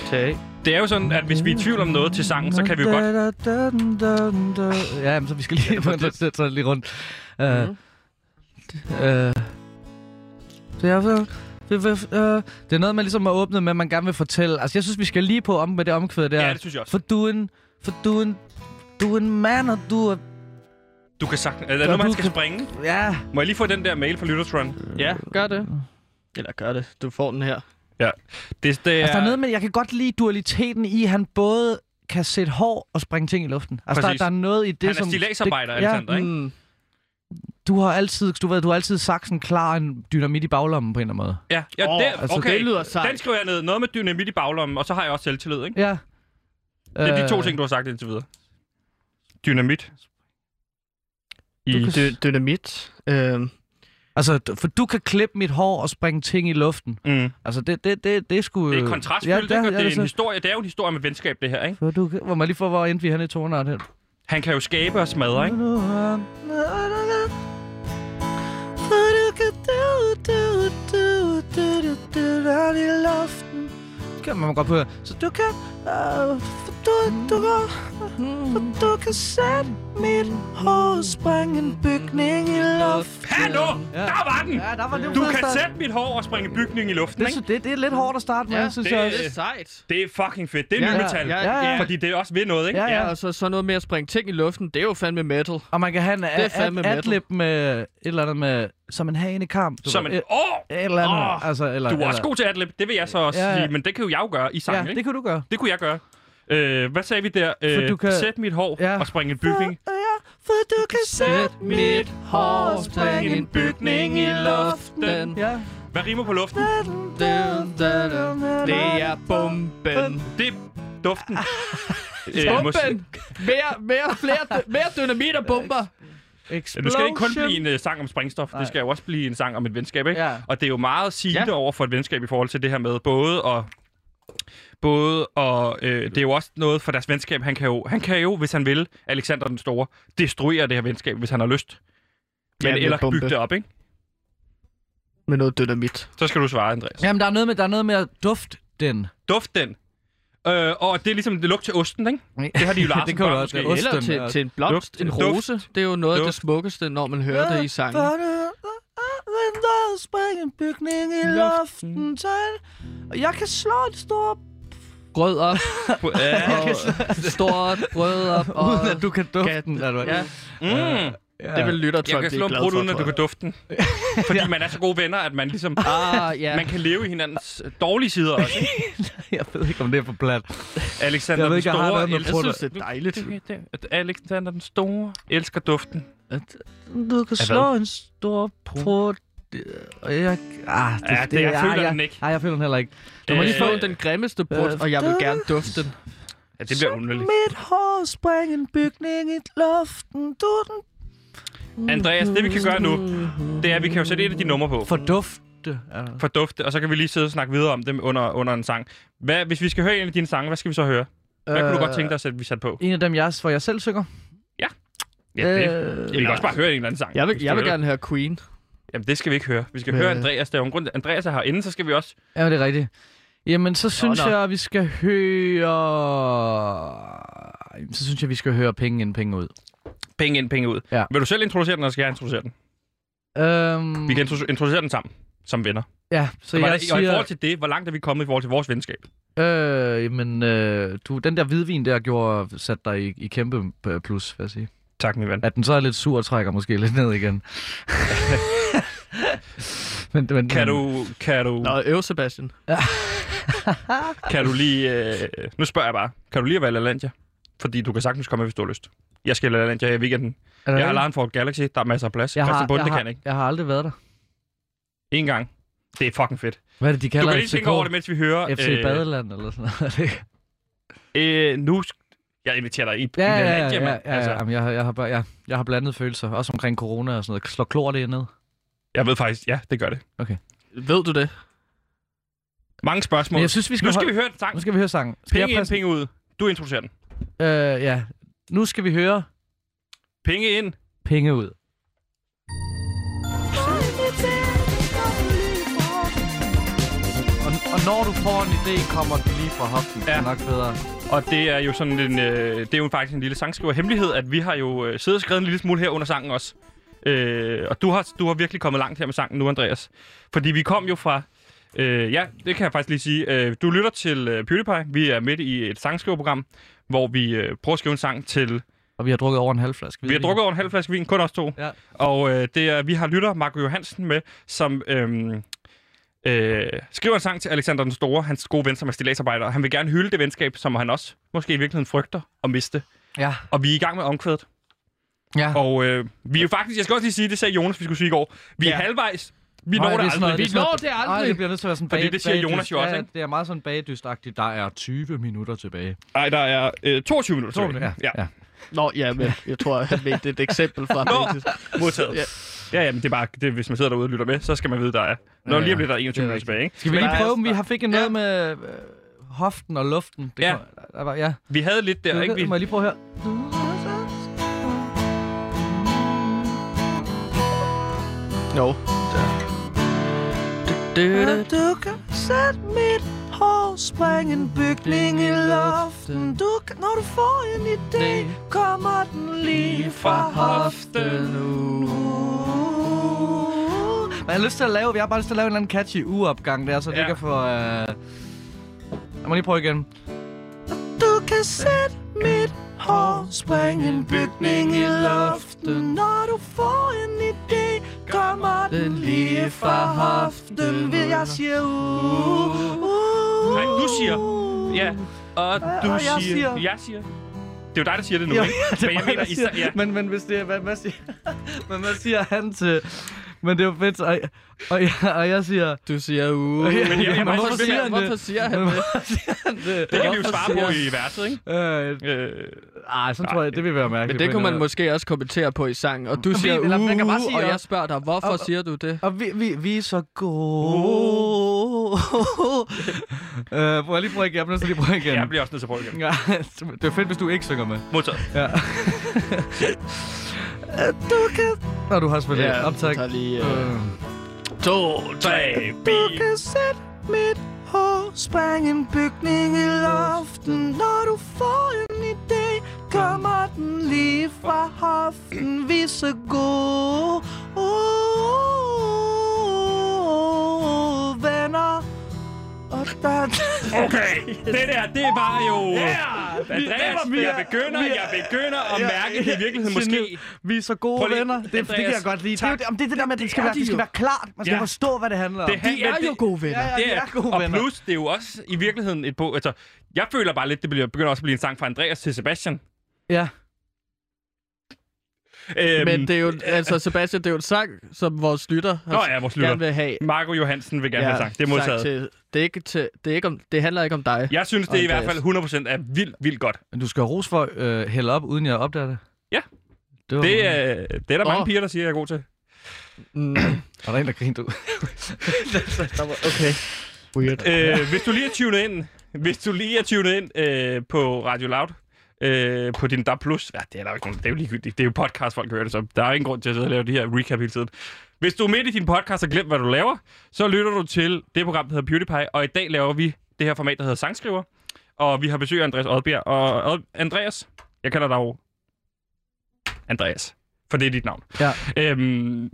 Speaker 2: Tag.
Speaker 1: Det er jo sådan, at hvis vi er i tvivl om noget til sangen, så kan vi jo godt...
Speaker 3: Ja, men så vi skal lige,
Speaker 2: det var det.
Speaker 3: ja, det lige rundt. Uh,
Speaker 2: Mhm.
Speaker 3: Øh. Så jeg så... Det, det, øh, det er noget, man ligesom har åbnet med, at man gerne vil fortælle. Altså, jeg synes, vi skal lige på om med det omkvæd der.
Speaker 1: Ja, det synes jeg også.
Speaker 3: For du er en... For du er en... Du er en mand, og du er...
Speaker 1: Du kan sagtens... Er der noget,
Speaker 3: du
Speaker 1: man skal
Speaker 3: kan-
Speaker 1: springe?
Speaker 3: Ja.
Speaker 1: Må jeg lige få den der mail fra Lyttertron?
Speaker 2: Ja, gør det. Eller gør det. Du får den her.
Speaker 1: Det, det er...
Speaker 3: Altså, der er noget med, jeg kan godt lide dualiteten i, at han både kan sætte hår og springe ting i luften. Altså, der,
Speaker 1: Præcis.
Speaker 3: der, er noget i det,
Speaker 1: Han er
Speaker 3: som...
Speaker 1: stilladsarbejder,
Speaker 3: det- ja,
Speaker 1: Alexander, ikke?
Speaker 2: Mm.
Speaker 3: Du har altid, du ved, du har altid saksen klar en dynamit i baglommen på en eller anden måde.
Speaker 1: Ja, ja
Speaker 2: Åh,
Speaker 1: det,
Speaker 3: altså,
Speaker 1: okay.
Speaker 2: det lyder sejt.
Speaker 1: Den skriver jeg ned. Noget med dynamit i baglommen, og så har jeg også selvtillid, ikke?
Speaker 3: Ja. Øh,
Speaker 1: Det er de to ting, du har sagt indtil videre. Dynamit.
Speaker 2: Du
Speaker 1: I
Speaker 2: kan dy- dynamit. Øhm,
Speaker 3: Altså, d- for du kan klippe mit hår og springe ting i luften.
Speaker 1: Mm.
Speaker 3: Altså, det, det, det, det er sgu...
Speaker 1: Det er kontrastfyldt, ja, det, ikke? Og det, er en historie, det er jo en historie med venskab, det her, ikke?
Speaker 3: For du kan... Hvor man lige får, hvor endte vi henne i tonart her.
Speaker 1: Han kan jo skabe og smadre, ikke?
Speaker 3: Det kan man godt høre. Så du kan... øh, for du, du, kan- for du kan sætte mit hår og springe en bygning i luften.
Speaker 1: Hallo!
Speaker 3: Ja.
Speaker 1: Der var den!
Speaker 3: Ja, der var det
Speaker 1: Du kan sætte mit hår og springe bygning i luften,
Speaker 3: det,
Speaker 1: ikke?
Speaker 3: sy- det, det er lidt hårdt at starte med,
Speaker 2: Ja,
Speaker 3: synes
Speaker 1: det-
Speaker 3: jeg.
Speaker 2: det er sejt.
Speaker 1: Det er fucking fedt. Det er
Speaker 2: Ja,
Speaker 1: ja, nymetal.
Speaker 2: ja,
Speaker 1: Ja,
Speaker 3: ja,
Speaker 1: ja.
Speaker 3: ja.
Speaker 1: Fordi det også ved noget, ikke?
Speaker 3: Ja,
Speaker 2: Ja, og så sådan noget med at springe ting i luften, det er jo fandme metal.
Speaker 3: Og man kan have en
Speaker 2: er fandme
Speaker 3: ad-
Speaker 2: metal.
Speaker 3: adlib med et eller andet med... Som en hanekamp. du
Speaker 1: Som
Speaker 3: ved.
Speaker 1: en... Åh!
Speaker 3: Et eller andet.
Speaker 1: Åh,
Speaker 3: altså, eller,
Speaker 1: Du er
Speaker 3: eller,
Speaker 1: også god til adlib. Det vil jeg så også
Speaker 3: Ja, ja.
Speaker 1: sige, men det kan jo jeg jo gøre i sang,
Speaker 3: Ja,
Speaker 1: ikke?
Speaker 3: det kan du gøre.
Speaker 1: Det kunne jeg gøre. Øh, hvad sagde vi der? Øh,
Speaker 3: du
Speaker 1: kan...
Speaker 3: kan-
Speaker 1: Sæt mit hår ja.
Speaker 3: Ja.
Speaker 1: og springe en bygning.
Speaker 3: Ja, for du kan sætte mit hår og springe en bygning i luften. Ja.
Speaker 1: Hvad rimer på luften?
Speaker 2: Det er bomben.
Speaker 1: Det er
Speaker 3: Ah.
Speaker 1: duften. Øh, måske-
Speaker 2: Bomben! Mere, mere, flere, mere dynamit og bomber.
Speaker 1: Explosion. Det skal ikke kun blive en øh, sang om springstof, Nej.
Speaker 3: Nej.
Speaker 1: det skal jo også blive en sang om et venskab, ikke?
Speaker 3: Ja.
Speaker 1: Og det er jo meget sigende
Speaker 3: Ja.
Speaker 1: ja. over for et venskab i forhold til det her med både og både og øh, det er jo også noget for deres venskab. Han kan jo, han kan jo hvis han vil, Alexander den Store, destruere det her venskab, hvis han har lyst. Men
Speaker 2: Ja,
Speaker 1: ja,
Speaker 2: med
Speaker 1: eller
Speaker 2: bombe.
Speaker 1: bygge det op, ikke?
Speaker 2: Med noget dynamit.
Speaker 1: Så skal du svare, Andreas.
Speaker 3: Jamen, der er noget med, der er noget med at dufte den.
Speaker 1: Duft den. Øh, og det er ligesom det lugt til osten, ikke? Det har de jo Larsen
Speaker 3: det kan
Speaker 1: børn
Speaker 3: jo også
Speaker 1: måske.
Speaker 3: være ost.
Speaker 2: Eller
Speaker 3: Osten
Speaker 2: til,
Speaker 3: er-
Speaker 2: til en blomst,
Speaker 1: Duft.
Speaker 2: en
Speaker 1: Duft.
Speaker 2: rose. Det er jo noget af det
Speaker 1: Duft.
Speaker 2: smukkeste, når man hører
Speaker 3: Øh,
Speaker 2: det i sangen.
Speaker 5: Der springer en bygning i luften til, og jeg kan slå et stort
Speaker 2: Grød op,
Speaker 1: Ja.
Speaker 2: og stort grød op, og...
Speaker 3: Uden at du kan dufte den. Eller hvad?
Speaker 2: Ja,
Speaker 1: Mm.
Speaker 3: ja.
Speaker 2: det vil lytter
Speaker 1: Jeg
Speaker 2: Trump
Speaker 1: kan slå
Speaker 2: blive
Speaker 1: en
Speaker 2: glad
Speaker 1: brud,
Speaker 2: for,
Speaker 1: uden at du
Speaker 2: tror
Speaker 1: kan dufte den. Fordi man er så gode venner, at man ligesom...
Speaker 2: jeg. Ah, ja.
Speaker 1: Man kan leve i hinandens dårlige sider også, ikke?
Speaker 3: Jeg ved ikke, om det er for plat.
Speaker 1: Alexander
Speaker 3: Jeg ved
Speaker 1: den
Speaker 3: ikke, jeg har
Speaker 1: Store
Speaker 3: noget med
Speaker 1: elsker-
Speaker 2: Jeg
Speaker 3: prut-
Speaker 2: synes, det er dejligt.
Speaker 1: At Alexander den Store elsker duften.
Speaker 5: Du kan slå en stor
Speaker 3: Prøv... Øh, Og jeg... Ah, det,
Speaker 1: Ja, det- jeg
Speaker 3: ah,
Speaker 1: føler
Speaker 3: jeg,
Speaker 1: den ikke.
Speaker 3: Nej, jeg føler den heller ikke.
Speaker 2: Du må
Speaker 1: Øh,
Speaker 2: lige få den grimmeste brud, og jeg vil gerne dufte den.
Speaker 1: Ja, det bliver underligt.
Speaker 5: Mit hår springer en bygning i luften. Du den
Speaker 1: Andreas, det vi kan gøre nu, det er, at vi kan jo sætte et af de numre på.
Speaker 3: For dufte. Ja.
Speaker 1: For dufte, og så kan vi lige sidde og snakke videre om dem under, under en sang. Hvad, hvis vi skal høre en af dine sange, hvad skal vi så høre? Hvad kunne du godt tænke dig, at sætte- vi satte på?
Speaker 3: Øh, En af dem, jeg, hvor jeg selv synger.
Speaker 1: Ja, det.
Speaker 3: Øh,
Speaker 1: Vi kan også bare høre en eller anden sang.
Speaker 2: Jeg vil,
Speaker 1: hvis du
Speaker 2: jeg vil gerne høre Queen.
Speaker 1: Jamen, det skal vi ikke høre. Vi skal
Speaker 2: Øh.
Speaker 1: høre Andreas. Der er jo en grund til, at Andreas er herinde, så skal vi også...
Speaker 3: Ja, det er rigtigt. Jamen, så synes
Speaker 2: nå.
Speaker 3: jeg, at vi skal høre... Jamen, Så synes jeg, vi skal høre penge ind, penge ud.
Speaker 1: Penge ind, penge ud.
Speaker 3: Ja.
Speaker 1: Vil du selv introducere den, eller skal jeg introducere den?
Speaker 3: Øhm,
Speaker 1: Vi kan introdu- introducere den sammen, som venner.
Speaker 3: Ja, så
Speaker 1: Så hvordan,
Speaker 3: jeg
Speaker 1: siger... Og i forhold
Speaker 3: siger...
Speaker 1: til det, hvor langt er vi kommet i forhold til vores venskab?
Speaker 3: Øh, jamen, øh, du, den der hvidvin der gjorde, satte dig i, i kæmpe øh, plus, vil jeg sige.
Speaker 1: Tak, min ven.
Speaker 3: At den så er lidt sur og trækker måske lidt ned igen. men, men,
Speaker 1: Kan du, kan du,
Speaker 2: Nå, øv Sebastian.
Speaker 1: kan du lige... Øh, nu spørger jeg bare. Kan du lige at være i LaLandia? Fordi du kan sagtens komme, hvis du har lyst. Jeg skal i LaLandia i weekenden.
Speaker 3: Er der
Speaker 1: Jeg har
Speaker 3: det?
Speaker 1: Laren for Galaxy. Der er masser af plads.
Speaker 3: jeg har,
Speaker 1: Christian Bunde
Speaker 3: jeg,
Speaker 1: kan
Speaker 3: har,
Speaker 1: ikke.
Speaker 3: jeg har aldrig været der.
Speaker 1: En gang. Det er fucking fedt.
Speaker 3: Hvad er det, de
Speaker 1: Du
Speaker 3: kalder
Speaker 1: kan lige
Speaker 3: FCK?
Speaker 1: tænke over det, mens vi hører...
Speaker 3: FC Badeland eller sådan noget.
Speaker 1: øh, nu... sk- Jeg inviterer dig i,
Speaker 3: ja,
Speaker 1: i
Speaker 3: ja, ja,
Speaker 1: LaLandia,
Speaker 3: ja, ja,
Speaker 1: mand. Altså,
Speaker 3: ja. Jamen, jeg, har- jeg, har, bare- ja, jeg har blandet følelser, også omkring corona og sådan noget. Slår klor det ned?
Speaker 1: Jeg ved faktisk, ja, det gør det.
Speaker 2: Ved du det?
Speaker 1: Mange spørgsmål.
Speaker 3: Men jeg synes, vi skal
Speaker 1: nu skal vi
Speaker 3: holde-
Speaker 1: høre en sang.
Speaker 3: Nu skal vi høre sangen. Skal
Speaker 1: Penge ind,
Speaker 3: præsen-
Speaker 1: penge ud. Du introducerer den.
Speaker 3: Øh, ja. Nu skal vi høre
Speaker 1: Penge ind.
Speaker 3: penge ud. Og, og når du får en idé, kommer den lige fra hoften. Ja. Det er
Speaker 1: Ja.
Speaker 3: nok bedre.
Speaker 1: Og det er jo sådan en, øh, det er jo faktisk en lille sangskriverhemmelighed, at vi har jo øh, siddet og skrevet en lille smule her under sangen også. Øh, og du har, du har virkelig kommet langt her med sangen nu, Andreas. Fordi vi kom jo fra... Øh, ja, det kan jeg faktisk lige sige. Øh, du lytter til øh, PewDiePie. Vi er midt i et sangskriverprogram, hvor vi øh, prøver at skrive en sang til...
Speaker 3: Og vi har drukket over en halv flaske.
Speaker 1: Vi har drukket over en halv flaske vin, kun os to.
Speaker 3: Ja.
Speaker 1: Og øh, det er, vi har lytter Marco Johansen med, som øhm, øh, skriver en sang til Alexander den Store, hans gode ven, som er stilagsarbejder. Han vil gerne hylde det venskab, som han også måske i virkeligheden frygter at miste.
Speaker 3: Ja.
Speaker 1: Og vi er i gang med omkvædet.
Speaker 3: Ja.
Speaker 1: Og øh, vi er jo faktisk, jeg skal også lige sige, det sagde Jonas, vi skulle sige i går. Vi er
Speaker 2: Ja.
Speaker 1: halvvejs. Vi
Speaker 3: Nå,
Speaker 1: når
Speaker 3: ja,
Speaker 1: det
Speaker 3: er
Speaker 1: aldrig.
Speaker 3: sådan noget-
Speaker 2: Vi
Speaker 3: er sådan
Speaker 2: når
Speaker 3: noget-
Speaker 2: det aldrig.
Speaker 3: Ej, det bliver nødt til at være sådan
Speaker 1: Fordi
Speaker 3: bag-
Speaker 1: det siger
Speaker 3: bagdyst.
Speaker 1: Jonas jo også,
Speaker 3: Ja,
Speaker 1: ikke?
Speaker 3: det er meget sådan bagdystagtigt. Der er 20 minutter tilbage.
Speaker 1: Nej, der er øh, 22 minutter. tilbage. ja.
Speaker 3: ja.
Speaker 2: Nå, ja, men jeg tror, han mente et eksempel fra
Speaker 1: Nå.
Speaker 2: Bente.
Speaker 1: Modtaget.
Speaker 2: Ja.
Speaker 1: Ja. ja, men det er bare, det, hvis man sidder derude og lytter med, så skal man vide, der er. Nå,
Speaker 3: Ja,
Speaker 1: lige om
Speaker 3: ja.
Speaker 1: lidt, der er 21
Speaker 3: Det er
Speaker 1: minutter tilbage, ikke?
Speaker 3: Skal vi
Speaker 2: Men
Speaker 3: lige
Speaker 2: der er
Speaker 3: prøve, om
Speaker 2: sådan-
Speaker 3: vi har fik noget med øh, hoften og luften? Det
Speaker 1: Ja.
Speaker 3: kom- der var, ja.
Speaker 1: Vi havde lidt der,
Speaker 3: Det,
Speaker 1: ikke? Vi,
Speaker 3: Må jeg lige prøve her?
Speaker 2: Nå.
Speaker 5: Du kan sætte mit hår springe en bygning i luften. Du kan, når du får en idé, kommer den lige fra
Speaker 1: øh,
Speaker 5: hoften.
Speaker 3: Men jeg har lyst til at lave, jeg har bare lyst til at lave en eller anden catchy ugeopgang der, så ja.
Speaker 1: Ja.
Speaker 3: vi kan få... Øh... Jeg må lige prøve igen.
Speaker 5: Du kan sætte mit hår springe en bygning i luften. Når du får en idé, kommer den lige fra hoften. Vil jeg siger uh, uh,
Speaker 1: Nej, du siger. Ja, og du
Speaker 5: og jeg
Speaker 1: siger,
Speaker 5: siger-
Speaker 1: Jeg siger. Det er jo dig, der siger det nu,
Speaker 3: Jo,
Speaker 1: ikke?
Speaker 3: det
Speaker 1: Men jeg
Speaker 3: mig,
Speaker 1: mener,
Speaker 3: der
Speaker 1: I, sa-
Speaker 3: siger,
Speaker 1: ja,
Speaker 3: men, men hvis det er, hvad, hvad, siger, men hvad siger han til... Men det var fedt, og, og, jeg, og jeg siger...
Speaker 2: Du siger, uh.
Speaker 1: jeg- jeg- jeg-
Speaker 2: hvorfor,
Speaker 1: hvorfor
Speaker 2: siger
Speaker 1: siger
Speaker 2: han,
Speaker 3: han det?
Speaker 2: hvorfor siger han det?
Speaker 1: Det kan vi jo
Speaker 2: Hvorfor
Speaker 1: svare
Speaker 2: siger-
Speaker 1: på i verset, ikke?
Speaker 3: Øh,
Speaker 1: Øh,
Speaker 3: ej, sådan tror jeg, det vil være mærkeligt. øh,
Speaker 2: Men det
Speaker 3: på
Speaker 2: kunne
Speaker 3: en
Speaker 2: man
Speaker 3: eller
Speaker 2: måske også kommentere på i sangen. Og du siger,
Speaker 3: vi- eller
Speaker 2: uh,
Speaker 3: man kan bare sige,
Speaker 2: og
Speaker 3: og-
Speaker 2: jeg spørger dig, hvorfor
Speaker 3: og-
Speaker 2: siger du det?
Speaker 3: Og vi, vi, vi er så gode. øh, prøv lige prøve igen. Jeg bliver nødt til lige at prøve igen.
Speaker 1: jeg bliver også nødt til at prøve igen.
Speaker 3: Ja, det er fedt, hvis du ikke synger med.
Speaker 1: Modtaget.
Speaker 3: Ja. du kan... Når du har spillet ja, optag.
Speaker 2: vi tager lige... Øh,
Speaker 3: Øh,
Speaker 1: To, tre, bi.
Speaker 5: kan sætte mit hår Spring en bygning i loften Når du får en idé Kommer den lige fra hoften Vi er så gode Uh, Venner Og der...
Speaker 1: Okay, det der, det var jo... Andreas, jeg begynder, jeg begynder at mærke i virkeligheden måske...
Speaker 3: Vi er så gode
Speaker 1: Prøv lige-
Speaker 3: venner. Det, det kan
Speaker 1: Andreas,
Speaker 3: jeg godt lide. Det, er
Speaker 1: tak.
Speaker 3: jo det, om det, er det der med, at det skal, være, det skal være klart. Man skal
Speaker 1: Ja.
Speaker 3: forstå, hvad det handler om.
Speaker 1: Det handler- men det-
Speaker 2: gode venner.
Speaker 3: ja,
Speaker 1: Det
Speaker 3: ja,
Speaker 1: er,
Speaker 3: er gode
Speaker 1: og
Speaker 3: venner.
Speaker 1: plus, det er jo også i virkeligheden et på... Altså, jeg føler bare lidt, det bliver, begynder også at blive en sang fra Andreas til Sebastian.
Speaker 3: Ja.
Speaker 1: Øhm,
Speaker 2: Men det er jo, altså Sebastian, det er jo en sang, som vores lytter,
Speaker 1: Nå ja, vores lytter.
Speaker 2: gerne vil have.
Speaker 1: Marco Johansen vil gerne ja, have sang. Det er modtaget.
Speaker 2: til, det, er ikke til, det, er ikke om, det handler ikke om dig.
Speaker 1: Jeg synes, det er i hvert
Speaker 2: Andreas.
Speaker 1: fald 100% er vildt, vildt godt.
Speaker 3: Men du skal have ros for øh, hælde op, uden jeg opdager det.
Speaker 1: Ja.
Speaker 3: Det, var,
Speaker 1: Det, øh, det er der mange
Speaker 2: Åh.
Speaker 1: piger, der siger, jeg er god til.
Speaker 2: Mm,
Speaker 3: Var der en, der grinte ud?
Speaker 2: okay. Weird.
Speaker 1: Øh, hvis du lige er tunet ind, hvis du lige er tunet ind øh, på Radio Loud, øh, på din DAB+, Plus, ja, det er der jo ikke nogen, det er jo ligegyldigt, det er jo podcast, folk hører det så, der er ingen grund til at sidde og lave de her recap hele tiden. Hvis du er midt i din podcast og glemt, hvad du laver, så lytter du til det program, der hedder PewDiePie, og i dag laver vi det her format, der hedder Sangskriver, og vi har besøg af Andreas Oddbjerg, og Od- Andreas, jeg kalder dig jo Andreas, for det er dit navn.
Speaker 3: Ja.
Speaker 1: Øhm,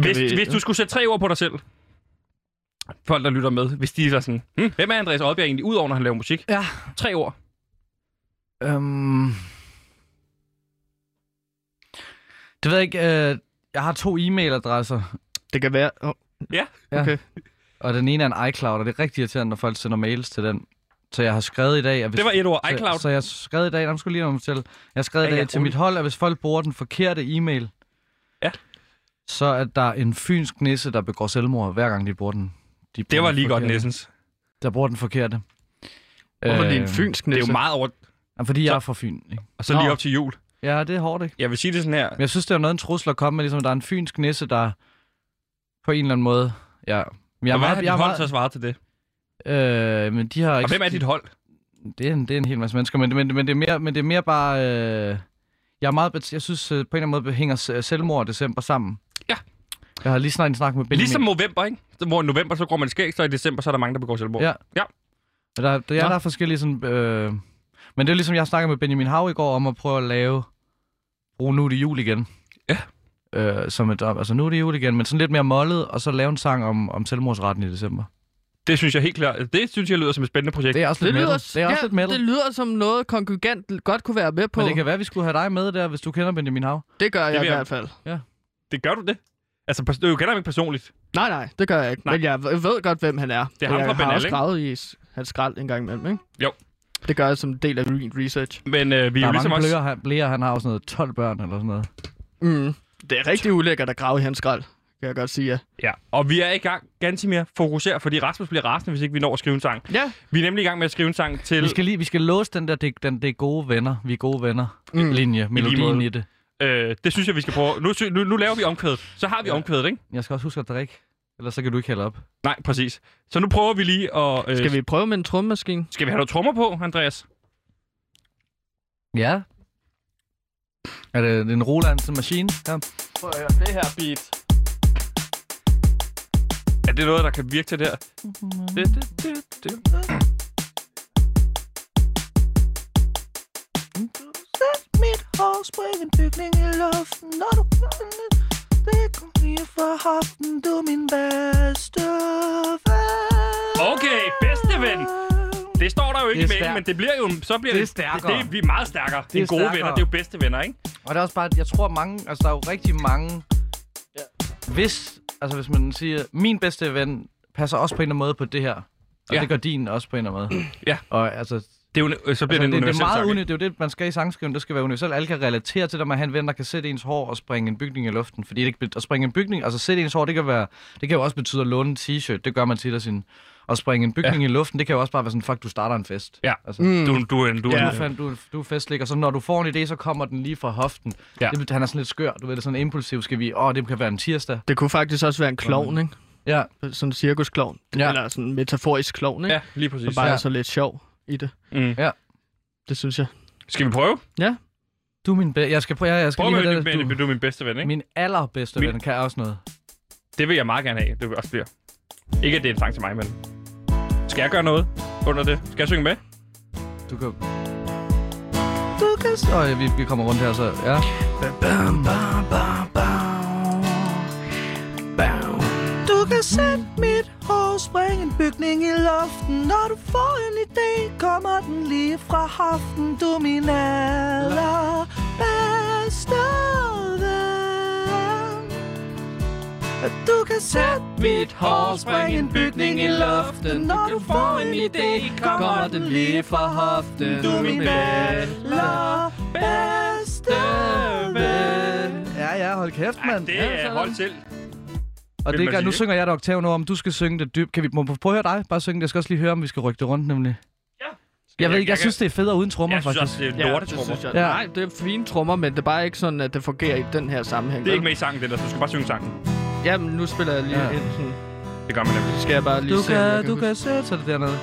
Speaker 1: hvis,
Speaker 2: vi-
Speaker 1: vi... hvis du skulle sætte tre ord på dig selv, folk, der lytter med, hvis de er sådan, hm, hvem er Andreas Oddbjerg egentlig, udover når han laver musik?
Speaker 3: Ja.
Speaker 1: Tre ord.
Speaker 3: Øhm... Det ved jeg ikke. Øh, jeg har to e-mailadresser,
Speaker 2: Det kan være... Oh,
Speaker 1: Ja.
Speaker 2: Okay.
Speaker 3: og den ene er en iCloud, og det er rigtig irriterende, når folk sender mails til den. Så jeg har skrevet i dag... At hvis,
Speaker 1: Det var et ord,
Speaker 3: så-
Speaker 1: iCloud.
Speaker 3: Så, jeg har skrevet i dag... Nå, men skulle lige om til. Jeg har skrevet i
Speaker 1: Ja,
Speaker 3: dag
Speaker 1: ja,
Speaker 3: til mit hold, at hvis folk bruger den forkerte e-mail,
Speaker 1: Ja.
Speaker 3: så er der en fynsk nisse, der begår selvmord, hver gang de bruger den. De bruger
Speaker 1: Det var
Speaker 3: den
Speaker 1: lige godt,
Speaker 3: forkerte.
Speaker 1: Nessens.
Speaker 3: Der bruger den forkerte.
Speaker 2: Hvorfor øh, lige en
Speaker 3: Øh,
Speaker 2: fynsk
Speaker 1: Det
Speaker 2: næse?
Speaker 1: er jo meget over,
Speaker 3: jamen, Fordi jeg er fra Fyn, ikke?
Speaker 1: og så lige
Speaker 3: Nå.
Speaker 1: op til jul.
Speaker 3: Ja, det er hårdt, ikke?
Speaker 1: Jeg vil sige det sådan her.
Speaker 3: Men jeg synes, det er noget en trussel at komme med, ligesom, at der er en fynsk nisse, der på en eller anden måde... Ja. Men
Speaker 1: Jeg
Speaker 3: er
Speaker 1: og hvad
Speaker 3: meget-
Speaker 1: har
Speaker 3: jeg
Speaker 1: dit
Speaker 3: er
Speaker 1: hold så svaret til det?
Speaker 3: meget- Øh, men de har
Speaker 1: Og
Speaker 3: ikke...
Speaker 1: hvem er dit hold?
Speaker 3: Det er, en, det er en hel masse mennesker, men, men, men, det, er mere, men det er mere bare... Øh, jeg er meget... bet- Jeg synes, øh, på en eller anden måde hænger se- selvmord og december sammen.
Speaker 1: Ja.
Speaker 3: Jeg har lige snart en snak med Benjamin.
Speaker 1: Ligesom november, ikke? Hvor i november, så går man skæg, så i december, så er der mange, der begår selvmord.
Speaker 3: Ja.
Speaker 1: Ja.
Speaker 3: Men Der, der, ja,
Speaker 2: Nå.
Speaker 3: der er forskellige sådan... Øh, men det er ligesom, jeg snakkede med Benjamin Hav i går om at prøve at lave... Brug nu er det jul igen.
Speaker 1: Ja.
Speaker 3: Øh, som et, altså nu er det jul igen, men sådan lidt mere mollet, og så lave en sang om, om selvmordsretten i december.
Speaker 1: Det synes jeg helt klart. Det synes jeg lyder som et spændende projekt.
Speaker 3: Det er også
Speaker 2: Det
Speaker 3: lidt
Speaker 2: lyder,
Speaker 3: metal. Det er også
Speaker 2: ja,
Speaker 3: lidt metal.
Speaker 2: det lyder som noget, kongregant godt kunne være med på.
Speaker 3: Men det kan være, vi skulle have dig med der, hvis du kender Benjamin Hav.
Speaker 2: det gør jeg
Speaker 1: vil
Speaker 2: i
Speaker 1: jeg-
Speaker 2: hvert fald.
Speaker 1: det gør du det? Altså, pers- du kender ham ikke personligt.
Speaker 2: Nej, nej, det gør jeg ikke.
Speaker 1: Nej.
Speaker 2: Men jeg v- ved godt, hvem han er.
Speaker 1: Det er ham
Speaker 2: jeg
Speaker 1: fra Ben
Speaker 2: har
Speaker 1: Alle,
Speaker 2: også
Speaker 1: ikke?
Speaker 2: gravet i s- hans skrald en gang imellem, ikke?
Speaker 1: Jo.
Speaker 2: Det gør jeg som en del af min research.
Speaker 1: Men øh, vi er
Speaker 3: Der
Speaker 1: jo
Speaker 3: er
Speaker 1: ligesom
Speaker 3: mange
Speaker 1: også...
Speaker 3: blæger, han, blæger, han har også sådan noget 12 børn eller sådan noget.
Speaker 2: Mm. Det er rigtig ulækkert at grave i hans skrald, kan jeg godt sige. Ja,
Speaker 1: Ja. Og vi er i gang ganske mere fokuseret, fordi Rasmus bliver rasende, hvis ikke vi når at skrive en sang.
Speaker 2: ja.
Speaker 1: Vi er nemlig i gang med at skrive en sang til...
Speaker 3: Vi skal, lige, vi skal låse den der, det, den, det er gode venner, vi er gode venner
Speaker 2: Mm.
Speaker 3: mm. linje, melodien
Speaker 1: måde.
Speaker 3: i det.
Speaker 1: Øh, det synes jeg, vi skal prøve. Nu, sy- nu, nu laver vi omkvædet. Så har vi ja. omkvædet, ikke?
Speaker 3: Jeg skal også huske at drikke, ellers så kan du ikke hælde op.
Speaker 1: Nej, præcis. Så nu prøver vi lige at... Øh,
Speaker 2: Skal vi prøve med en trommemaskine?
Speaker 1: skal vi have noget trommer på, Andreas?
Speaker 3: Ja. Er det en Roland sådan en maskine? Ja.
Speaker 2: Prøv at høre det her beat.
Speaker 1: Er det noget, der kan virke til det her? Det, det, det, det.
Speaker 5: Sæt mit hår, spring en bygning i luften Når du planer det kom lige fra hoften Du er min bedste ven
Speaker 1: Okay, bedste ven. Det står der jo ikke i
Speaker 3: Det
Speaker 1: mailen,
Speaker 3: er stærkt.
Speaker 1: men det bliver jo... Så bliver
Speaker 3: Det er
Speaker 1: det,
Speaker 3: stærkere.
Speaker 1: Det, det, vi er meget stærkere. Det er
Speaker 3: er
Speaker 1: gode
Speaker 3: stærkere.
Speaker 1: venner. Det er jo bedste venner, ikke?
Speaker 3: Og det er også bare, at jeg tror mange, altså der er jo rigtig mange, ja. hvis, altså hvis man siger, min bedste ven passer også på en eller anden måde på det her, og
Speaker 1: Ja.
Speaker 3: ja. det gør din også på en eller anden måde.
Speaker 1: Ja.
Speaker 3: Og altså,
Speaker 1: Det er jo, en- øh, så bliver
Speaker 3: Altså,
Speaker 1: det en
Speaker 3: det, det, er
Speaker 1: universel
Speaker 3: meget
Speaker 1: tanke.
Speaker 3: uni, det er jo det, man skal i sangskriven. Det skal være universelt. Alle kan relatere til det, man han venter, kan sætte ens hår og springe en bygning i luften. Fordi det, kan- at springe en bygning, altså sætte ens hår, det kan, være, det kan jo også betyde at låne en t-shirt. Det gør man tit af sin... Og springe en bygning ja. i luften, det kan jo også bare være sådan, fuck, du starter en fest.
Speaker 1: Ja. Mm.
Speaker 3: Altså,
Speaker 1: Du, du, er en- du,
Speaker 3: Du,
Speaker 1: er
Speaker 3: ja.
Speaker 1: en-
Speaker 3: fandt, du, du er festlig, og så når du får en idé, så kommer den lige fra hoften.
Speaker 1: Ja.
Speaker 3: Ja. Det, han er sådan lidt skør, du ved det, er sådan impulsiv, skal vi, åh, det kan være en tirsdag.
Speaker 2: Det kunne faktisk også være en klovn, ikke?
Speaker 3: Ja.
Speaker 2: Sådan en cirkusklovn. Ja.
Speaker 3: Ja.
Speaker 2: Eller sådan en metaforisk klovn, ikke?
Speaker 1: Ja, lige
Speaker 2: Så
Speaker 1: præcis.
Speaker 2: bare
Speaker 3: Ja.
Speaker 2: er så lidt sjov i det.
Speaker 1: Mm.
Speaker 2: Det synes jeg.
Speaker 1: Skal vi prøve?
Speaker 3: Du er min bedste, jeg skal prøve, jeg, jeg skal
Speaker 1: Prøv
Speaker 3: lige
Speaker 1: med,
Speaker 3: have
Speaker 1: det, med,
Speaker 3: du,
Speaker 1: med, du er min bedste ven, ikke?
Speaker 3: min allerbedste
Speaker 1: Min-
Speaker 3: ven kan også noget.
Speaker 1: Det vil jeg meget gerne have, det også bliver. Ikke, at det er en sang til mig, men... Skal jeg gøre noget under det? Skal jeg synge med?
Speaker 3: Du kan... Du kan... s- Åh, ja, vi, vi kommer rundt her, så ja.
Speaker 5: Du kan sætte mit hår, springe en bygning i luften. Når du får en idé, kommer den lige fra hoften. Du er min allerbedste ven. Du kan sætte mit hår, springe en bygning i luften. Når du får en idé, kommer den lige fra hoften. Du er min allerbedste ven.
Speaker 3: Ja, ja, hold kæft,
Speaker 1: Ej, det er hold til.
Speaker 3: Og
Speaker 1: vil
Speaker 3: det
Speaker 1: man
Speaker 3: gør,
Speaker 1: sige,
Speaker 3: nu
Speaker 1: ikke?
Speaker 3: synger jeg dig oktaven over, om du skal synge det dybt. Kan vi må vi prøve at høre dig? Bare synge det. Jeg skal også lige høre, om vi skal rykke det rundt, nemlig. Jeg, ved ikke, jeg, synes, det er federe uden trommer,
Speaker 1: jeg synes også,
Speaker 3: faktisk.
Speaker 1: det er
Speaker 2: Ja,
Speaker 1: lortet,
Speaker 2: det
Speaker 1: tror
Speaker 2: synes jeg.
Speaker 3: Ja.
Speaker 2: Nej, det er fine trommer, men det er bare ikke sådan, at det fungerer i den her sammenhæng.
Speaker 1: Det er
Speaker 2: vel?
Speaker 1: ikke med i sangen, det der, så du skal bare synge sangen.
Speaker 2: Jamen, nu spiller jeg lige ja.
Speaker 3: Ja.
Speaker 2: ind sådan.
Speaker 1: Det gør man nemlig.
Speaker 2: Skal jeg bare lige
Speaker 3: Du
Speaker 2: se, om jeg
Speaker 3: kan, du
Speaker 2: huske-
Speaker 3: kan sætte så er det dernede.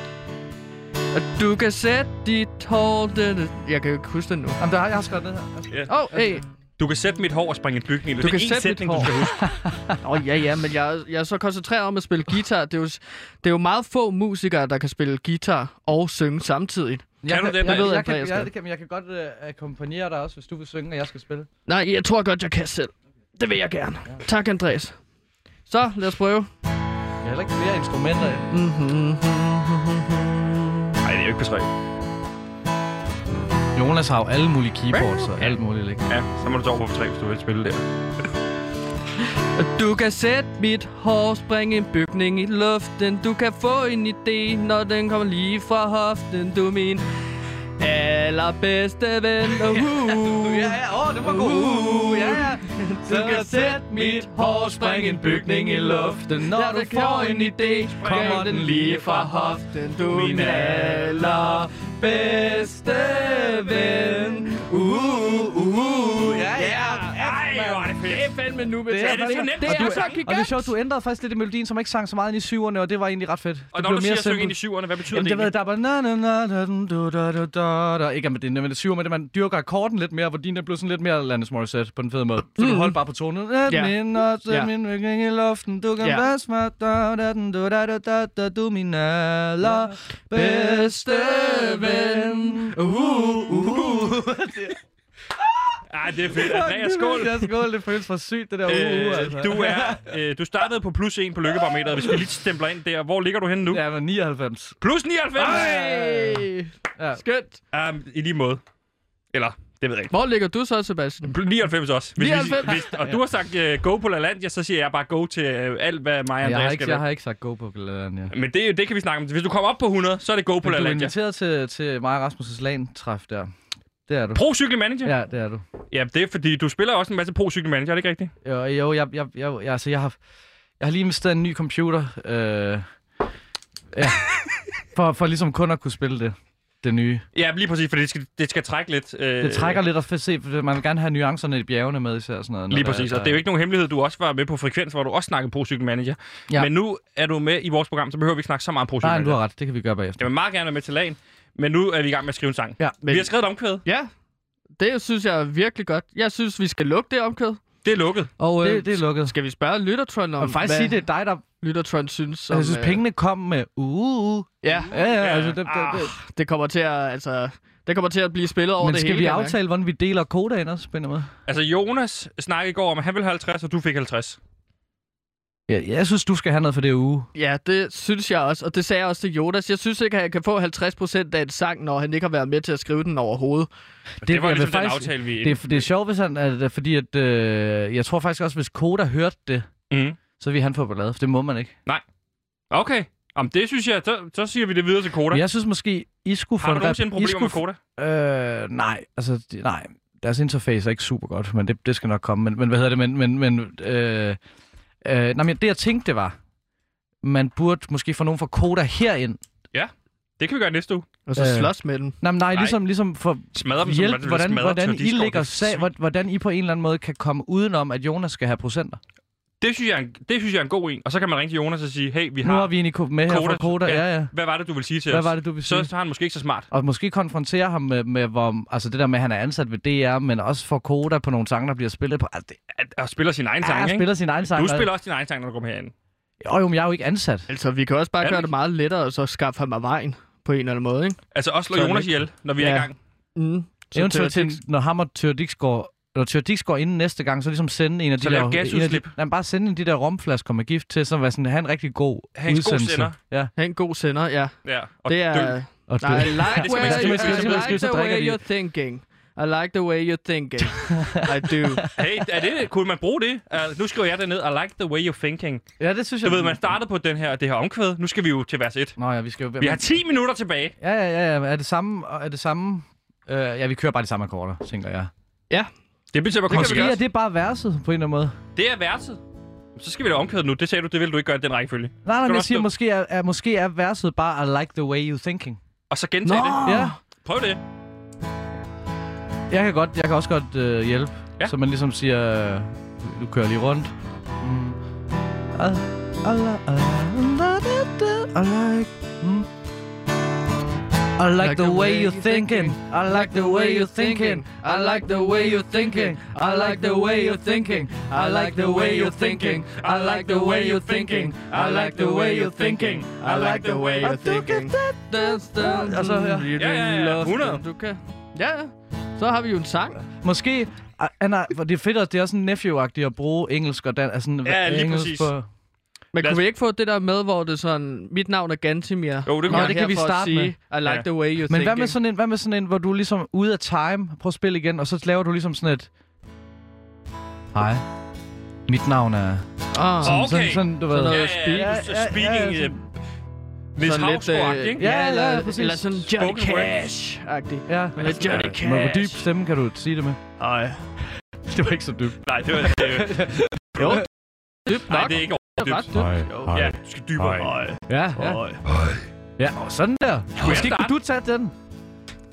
Speaker 2: Og du kan sætte dit hår... Den... Jeg kan jo ikke huske den nu.
Speaker 3: Jamen, der, har- jeg har skrevet ned her.
Speaker 2: Åh, oh, hey.
Speaker 1: Du kan sætte mit hår og springe en bygning. i
Speaker 2: Du
Speaker 1: luften.
Speaker 2: kan
Speaker 1: det er én
Speaker 2: sætte
Speaker 1: sætning,
Speaker 2: mit
Speaker 1: du skal
Speaker 2: hår.
Speaker 1: huske.
Speaker 2: Åh, oh, ja, ja, men jeg, er- jeg er så koncentreret om at spille guitar. Det er, jo, s- det er jo meget få musikere, der kan spille guitar og synge
Speaker 1: Kan
Speaker 2: samtidig.
Speaker 1: du det,
Speaker 3: jeg,
Speaker 1: Andreas?
Speaker 3: jeg, jeg, kan,
Speaker 2: Andreas
Speaker 3: jeg,
Speaker 2: kan.
Speaker 3: det kan, men jeg kan godt uh, akkompagnere dig også, hvis du vil synge, og jeg skal spille.
Speaker 2: Nej, jeg tror godt, jeg kan selv. Det vil jeg gerne. Tak, Andreas. Så, lad os prøve.
Speaker 3: Jeg har heller ikke flere instrumenter.
Speaker 2: Mm-hmm.
Speaker 1: Nej, det er jo ikke på tre.
Speaker 3: Jonas har jo alle mulige keyboards og alt muligt, ikke?
Speaker 1: Ja, så må du tage over på tre, hvis du vil spille der.
Speaker 2: Du kan sætte mit hår, springe en bygning i luften. Du kan få en idé, når den kommer lige fra hoften. Du er min allerbedste ven. Uh-huh.
Speaker 3: Ja, ja, åh, det var god. Uh, ja, ja.
Speaker 2: Du kan sætte mit hår, springe en bygning i luften Når du får en idé, kommer den lige fra hoften Du er min allerbedste ven Uh, uh, uh, ja, ja
Speaker 1: Ej, hvor er det fedt.
Speaker 2: Det er fandme nu, det
Speaker 1: er- det er så nemt.
Speaker 2: Det
Speaker 1: Og
Speaker 2: er,
Speaker 1: du
Speaker 2: så
Speaker 1: er-
Speaker 2: gigant
Speaker 3: Og det er sjovt, du ændrede faktisk lidt i melodien, som ikke sang så meget ind i syverne, og det var egentlig ret fedt. Det
Speaker 1: Og når du siger, at synge ind i syverne, hvad betyder
Speaker 3: Jamen,
Speaker 1: det
Speaker 3: det ved jeg,
Speaker 1: egentlig?
Speaker 3: der er bare... Na, na, na, da, dun, du, da, da, da, da. Ikke at man- det er nødvendigvis syver, men det, man dyrker akkorden lidt mere, hvor din er blevet sådan lidt mere Landis Morissette på den fede måde. Så du holder bare på tonen.
Speaker 2: Ja.
Speaker 3: Mm. Ja. Min og
Speaker 2: Ja.
Speaker 3: ja. min rygning i luften, du kan
Speaker 2: Ja.
Speaker 3: være smart, da, da, dun, du, da, da, da, da, du er min allerbedste ven. Uhuh,
Speaker 2: Uh, uh, uh.
Speaker 1: Ej, det er fedt. Andreas, skål.
Speaker 3: Ja, skål, det føles for sygt, det der uh, uh, altså.
Speaker 1: Øh, du, er, øh, du startede på plus 1 på lykkebarometeret. Hvis vi lige stempler ind der, hvor ligger du henne nu?
Speaker 3: Ja, men 99.
Speaker 1: Plus 99!
Speaker 2: Ej.
Speaker 3: Ja.
Speaker 2: Skønt.
Speaker 1: Um, I lige måde. Eller, det ved jeg ikke.
Speaker 2: Hvor ligger du så, Sebastian?
Speaker 1: 99 også. Hvis,
Speaker 2: 99.
Speaker 1: Hvis, hvis, og du har sagt uh, go på LaLandia, så siger jeg bare go til uh, alt, hvad mig og
Speaker 3: Jeg
Speaker 1: Andreas
Speaker 3: har,
Speaker 1: skal
Speaker 3: ikke, jeg
Speaker 1: være.
Speaker 3: har ikke sagt go på glæderen, ja.
Speaker 1: Men det, det kan vi snakke om. Hvis du kommer op på 100, så er det go på
Speaker 3: Men du er
Speaker 1: LaLandia.
Speaker 3: inviteret til, til mig og Rasmus' LAN-træf der. Det er du.
Speaker 1: Pro Cykel Manager? Ja.
Speaker 3: Ja, det er du.
Speaker 1: ja, det er fordi, du spiller også en masse Pro Cykel Manager, er det ikke rigtigt?
Speaker 3: Jo, jo jeg, jeg, jeg, jeg, altså, jeg, har, jeg har lige investeret i en ny computer. Øh, ja. for, for ligesom kun at kunne spille det, det nye.
Speaker 1: Ja, lige præcis, fordi det skal, det skal trække lidt. Øh,
Speaker 3: Det trækker lidt at f- se, for man vil gerne have nuancerne i bjergene med især. og Sådan noget, når
Speaker 1: Lige
Speaker 3: der-
Speaker 1: præcis,
Speaker 3: der-
Speaker 1: og det er jo ikke nogen hemmelighed, du også var med på Frekvens, hvor du også snakkede Pro Cykel Manager. Ja.
Speaker 3: Ja.
Speaker 1: Men nu er du med i vores program, så behøver vi ikke snakke så meget om Pro Cykel
Speaker 3: Nej, men du
Speaker 1: Manager.
Speaker 3: har ret. Det kan vi gøre bagefter.
Speaker 1: Jeg vil meget gerne være med til lagen, men nu er vi i gang med at skrive en sang.
Speaker 3: Ja,
Speaker 1: men... Vi har skrevet et omkvæd.
Speaker 2: Ja, det synes jeg er virkelig godt. Jeg synes, vi skal lukke det omkød.
Speaker 1: Det er lukket.
Speaker 2: Og
Speaker 3: øh, Det, det er lukket.
Speaker 2: skal vi spørge Lyttertrøn
Speaker 3: Jeg
Speaker 2: om,
Speaker 3: vil faktisk
Speaker 2: hvad
Speaker 3: sige, det er dig, der...
Speaker 2: Lyttertrøn synes? Som,
Speaker 3: Jeg synes, pengene kom med... Uh, uh.
Speaker 2: Ja,
Speaker 3: Ja, ja,
Speaker 1: øh- Ja,
Speaker 3: altså... Det, det,
Speaker 1: Ah.
Speaker 3: det.
Speaker 2: det kommer til at, altså, det kommer til at blive spillet over
Speaker 3: Men
Speaker 2: det
Speaker 3: skal
Speaker 2: hele.
Speaker 3: vi
Speaker 2: kan jeg mærke.
Speaker 3: aftale, hvordan vi deler kodaen også, på en eller anden måde?
Speaker 1: Altså, Jonas snakkede i går om, at han ville have 50, og du fik 50.
Speaker 3: Ja, jeg synes, du skal have noget for det uge.
Speaker 2: Ja, det synes jeg også, og det sagde jeg også til Jonas. Jeg synes ikke, at jeg kan få 50% af en sang, når han ikke har været med til at skrive den overhovedet.
Speaker 1: Det, det var
Speaker 3: jeg vil
Speaker 1: ligesom faktisk... den aftale, vi...
Speaker 3: Det, er- det er sjovt, hvis han, at, at- fordi at, øh, jeg tror faktisk også, hvis Koda hørte det,
Speaker 1: Mm.
Speaker 3: så ville han få ballade, for det må man ikke.
Speaker 1: Okay. Om det synes jeg, så, så siger vi det videre til Koda.
Speaker 3: Men jeg synes måske, I skulle få
Speaker 1: Har du
Speaker 3: en
Speaker 1: nogensinde
Speaker 3: rep- I
Speaker 1: problemer
Speaker 3: skulle
Speaker 1: med Koda?
Speaker 3: Øh, nej, altså, de, nej. Deres interface er ikke super godt, men det, det skal nok komme. Men, men hvad hedder det? Men, men, men, øh, øh, nej, men det, jeg tænkte, det var, man burde måske få nogen fra Koda herind.
Speaker 1: Det kan vi gøre næste uge.
Speaker 2: Og så
Speaker 3: Øh.
Speaker 2: slås med den.
Speaker 3: Nej, men nej,
Speaker 1: Nej.
Speaker 3: ligesom, ligesom for
Speaker 1: Smadre dem,
Speaker 3: hjælp,
Speaker 1: som man
Speaker 3: hvordan,
Speaker 1: smadrer
Speaker 3: hvordan
Speaker 1: Tør
Speaker 3: I
Speaker 1: Disco.
Speaker 3: lægger
Speaker 1: Det er
Speaker 3: sag, hvor- hvordan I på en eller anden måde kan komme udenom, at Jonas skal have procenter.
Speaker 1: Det synes, jeg er en, det synes jeg er en god en. Og så kan man ringe til Jonas og sige, hey, vi
Speaker 3: Nu
Speaker 1: har...
Speaker 3: har vi en i ko- med her
Speaker 1: Koda.
Speaker 3: fra Koda.
Speaker 1: Ja.
Speaker 3: Ja, ja.
Speaker 1: Hvad var det, du ville sige til
Speaker 3: Hvad
Speaker 1: os?
Speaker 3: var det, du ville sige?
Speaker 1: Så, så har han måske ikke så smart.
Speaker 3: Og måske konfrontere ham med, med hvor, altså det der med, at han er ansat ved DR, men også for Koda på nogle sange, der bliver spillet på. Altså, det,
Speaker 1: At, at spiller sin egen sang,
Speaker 3: han
Speaker 1: ikke?
Speaker 3: spiller sin egen sang.
Speaker 1: Du
Speaker 3: og-
Speaker 1: spiller også din egen sang, når du kommer herind.
Speaker 3: Jo, jo, men jeg er jo ikke ansat.
Speaker 2: Altså, vi kan også bare
Speaker 1: Er det
Speaker 2: gøre
Speaker 1: ikke?
Speaker 2: det meget lettere, og så skaffe ham af vejen på en eller anden måde, ikke?
Speaker 1: Altså også slå
Speaker 2: Så er
Speaker 1: Jonas
Speaker 2: det
Speaker 1: ihjel, når vi er i
Speaker 2: Ja.
Speaker 1: gang.
Speaker 2: Mm. Så
Speaker 3: Eventuelt
Speaker 2: tør jeg
Speaker 3: til, når ham og Tør Dixgaard når Tør Dixgaard inden næste gang, så ligesom sende en af
Speaker 1: Så
Speaker 3: de
Speaker 1: lav
Speaker 3: der... en af de,
Speaker 1: gasludslip.
Speaker 3: nej, men bare sende en af de der romflasker med gift til, så var sådan, han en rigtig god
Speaker 1: Ha' en god
Speaker 3: udsendelse.
Speaker 1: sender.
Speaker 3: Ja.
Speaker 2: ikke- Ha' en god sender, ja.
Speaker 1: Ja, og
Speaker 2: det
Speaker 1: dø.
Speaker 2: er...
Speaker 3: Og
Speaker 2: Nej, I
Speaker 3: det-
Speaker 2: like,
Speaker 1: skal man-
Speaker 2: where,
Speaker 1: skal
Speaker 2: you,
Speaker 1: man- skal man- skal man-
Speaker 2: I
Speaker 3: skal
Speaker 2: like
Speaker 3: man- så
Speaker 2: the
Speaker 3: drikker
Speaker 2: way
Speaker 3: de.
Speaker 2: you're thinking. I like the way you're thinking. I do.
Speaker 1: Hey, er det, kunne man bruge det? Uh, nu skriver jeg det ned. I like the way you're thinking.
Speaker 3: ja, det synes
Speaker 1: Du
Speaker 3: jeg...
Speaker 1: ved, man startede på den her, det her omkvæd. Nu skal vi jo til vers 1.
Speaker 3: Nå ja, vi skal jo...
Speaker 1: Vi har 10 minutter tilbage.
Speaker 3: Ja, ja, ja, ja. Er det samme? Er det samme? Øh, ja, vi kører bare de samme akkorder, tænker jeg.
Speaker 1: Det bestemmer
Speaker 3: Måske er
Speaker 1: konsekvens.
Speaker 3: det bare verset, på en eller anden måde.
Speaker 1: Det er verset. Så skal vi da omkvæde nu. Det sagde du, det ville du ikke gøre i den rækkefølge.
Speaker 3: Nej, nej,
Speaker 1: du
Speaker 3: men jeg
Speaker 1: også
Speaker 3: siger,
Speaker 1: stå-
Speaker 3: måske er, er, måske er verset bare, I like the way you're thinking.
Speaker 1: Og så gentage det.
Speaker 3: Ja,
Speaker 1: Prøv det.
Speaker 3: jeg kan, godt, jeg kan også godt øh, hjælpe.
Speaker 1: Ja.
Speaker 3: Ja. Så man ligesom siger, øh, du kører lige rundt. Mm. Ah, ah, ah, ah, da, da, I like, mm. I like the way you're thinking. I like the way you're thinking. I like the way you're thinking. I like the way you're thinking. I like the way you're thinking. I like the way you're thinking. I like the way you're thinking. I like the way you're thinking. Og så her.
Speaker 1: Ja, ja, ja. 100.
Speaker 2: Du kan. Ja, ja. så har vi jo en sang.
Speaker 3: Måske... Ah, ah, nej, for det er fedt, at det er også nephew-agtigt at bruge engelsk og dan, altså
Speaker 1: Ja, lige
Speaker 3: engelsk
Speaker 1: præcis.
Speaker 3: på...
Speaker 2: Men
Speaker 1: Lad os-
Speaker 2: kunne vi ikke få det der med, hvor det er sådan, mit navn er Gantimir. Jo,
Speaker 1: det kan
Speaker 3: vi. Det kan vi starte med.
Speaker 2: I like
Speaker 1: Ja.
Speaker 2: the way you
Speaker 3: Men
Speaker 2: think.
Speaker 3: hvad med, sådan en, hvad med sådan en, hvor du er ligesom ude af time, prøv at spille igen, og så laver du ligesom sådan et... Hej, mit navn er...
Speaker 2: Ah,
Speaker 1: Åh,
Speaker 3: Sådan,
Speaker 1: okay.
Speaker 3: sådan, sådan, du ved.
Speaker 2: Sådan
Speaker 1: Ja,
Speaker 2: noget.
Speaker 1: ja,
Speaker 2: Speak-
Speaker 1: ja,
Speaker 3: ja, ja,
Speaker 1: speaking...
Speaker 3: ja,
Speaker 1: øh,
Speaker 3: sådan-
Speaker 1: Niels
Speaker 2: sådan lidt, øh,
Speaker 1: Hausgaard, ikke?
Speaker 3: ja,
Speaker 2: Ja, eller,
Speaker 3: ja, præcis.
Speaker 2: eller sådan Johnny
Speaker 1: Spoken word.
Speaker 2: Cash-agtig.
Speaker 3: Ja,
Speaker 2: Men det er Johnny
Speaker 3: Men Hvor
Speaker 2: Cash.
Speaker 3: dyb stemme kan du sige det med?
Speaker 2: Ej.
Speaker 3: Det var ikke så dybt.
Speaker 1: Nej, det var... Det, var-
Speaker 2: Jo, dybt
Speaker 1: nej,
Speaker 2: nok.
Speaker 1: det er ikke
Speaker 2: Det er ret
Speaker 1: overdybt.
Speaker 2: dybt.
Speaker 1: Ja, du skal dybere.
Speaker 3: Ja, ja. ja og sådan der. Måske
Speaker 1: starte?
Speaker 3: kunne du tage den.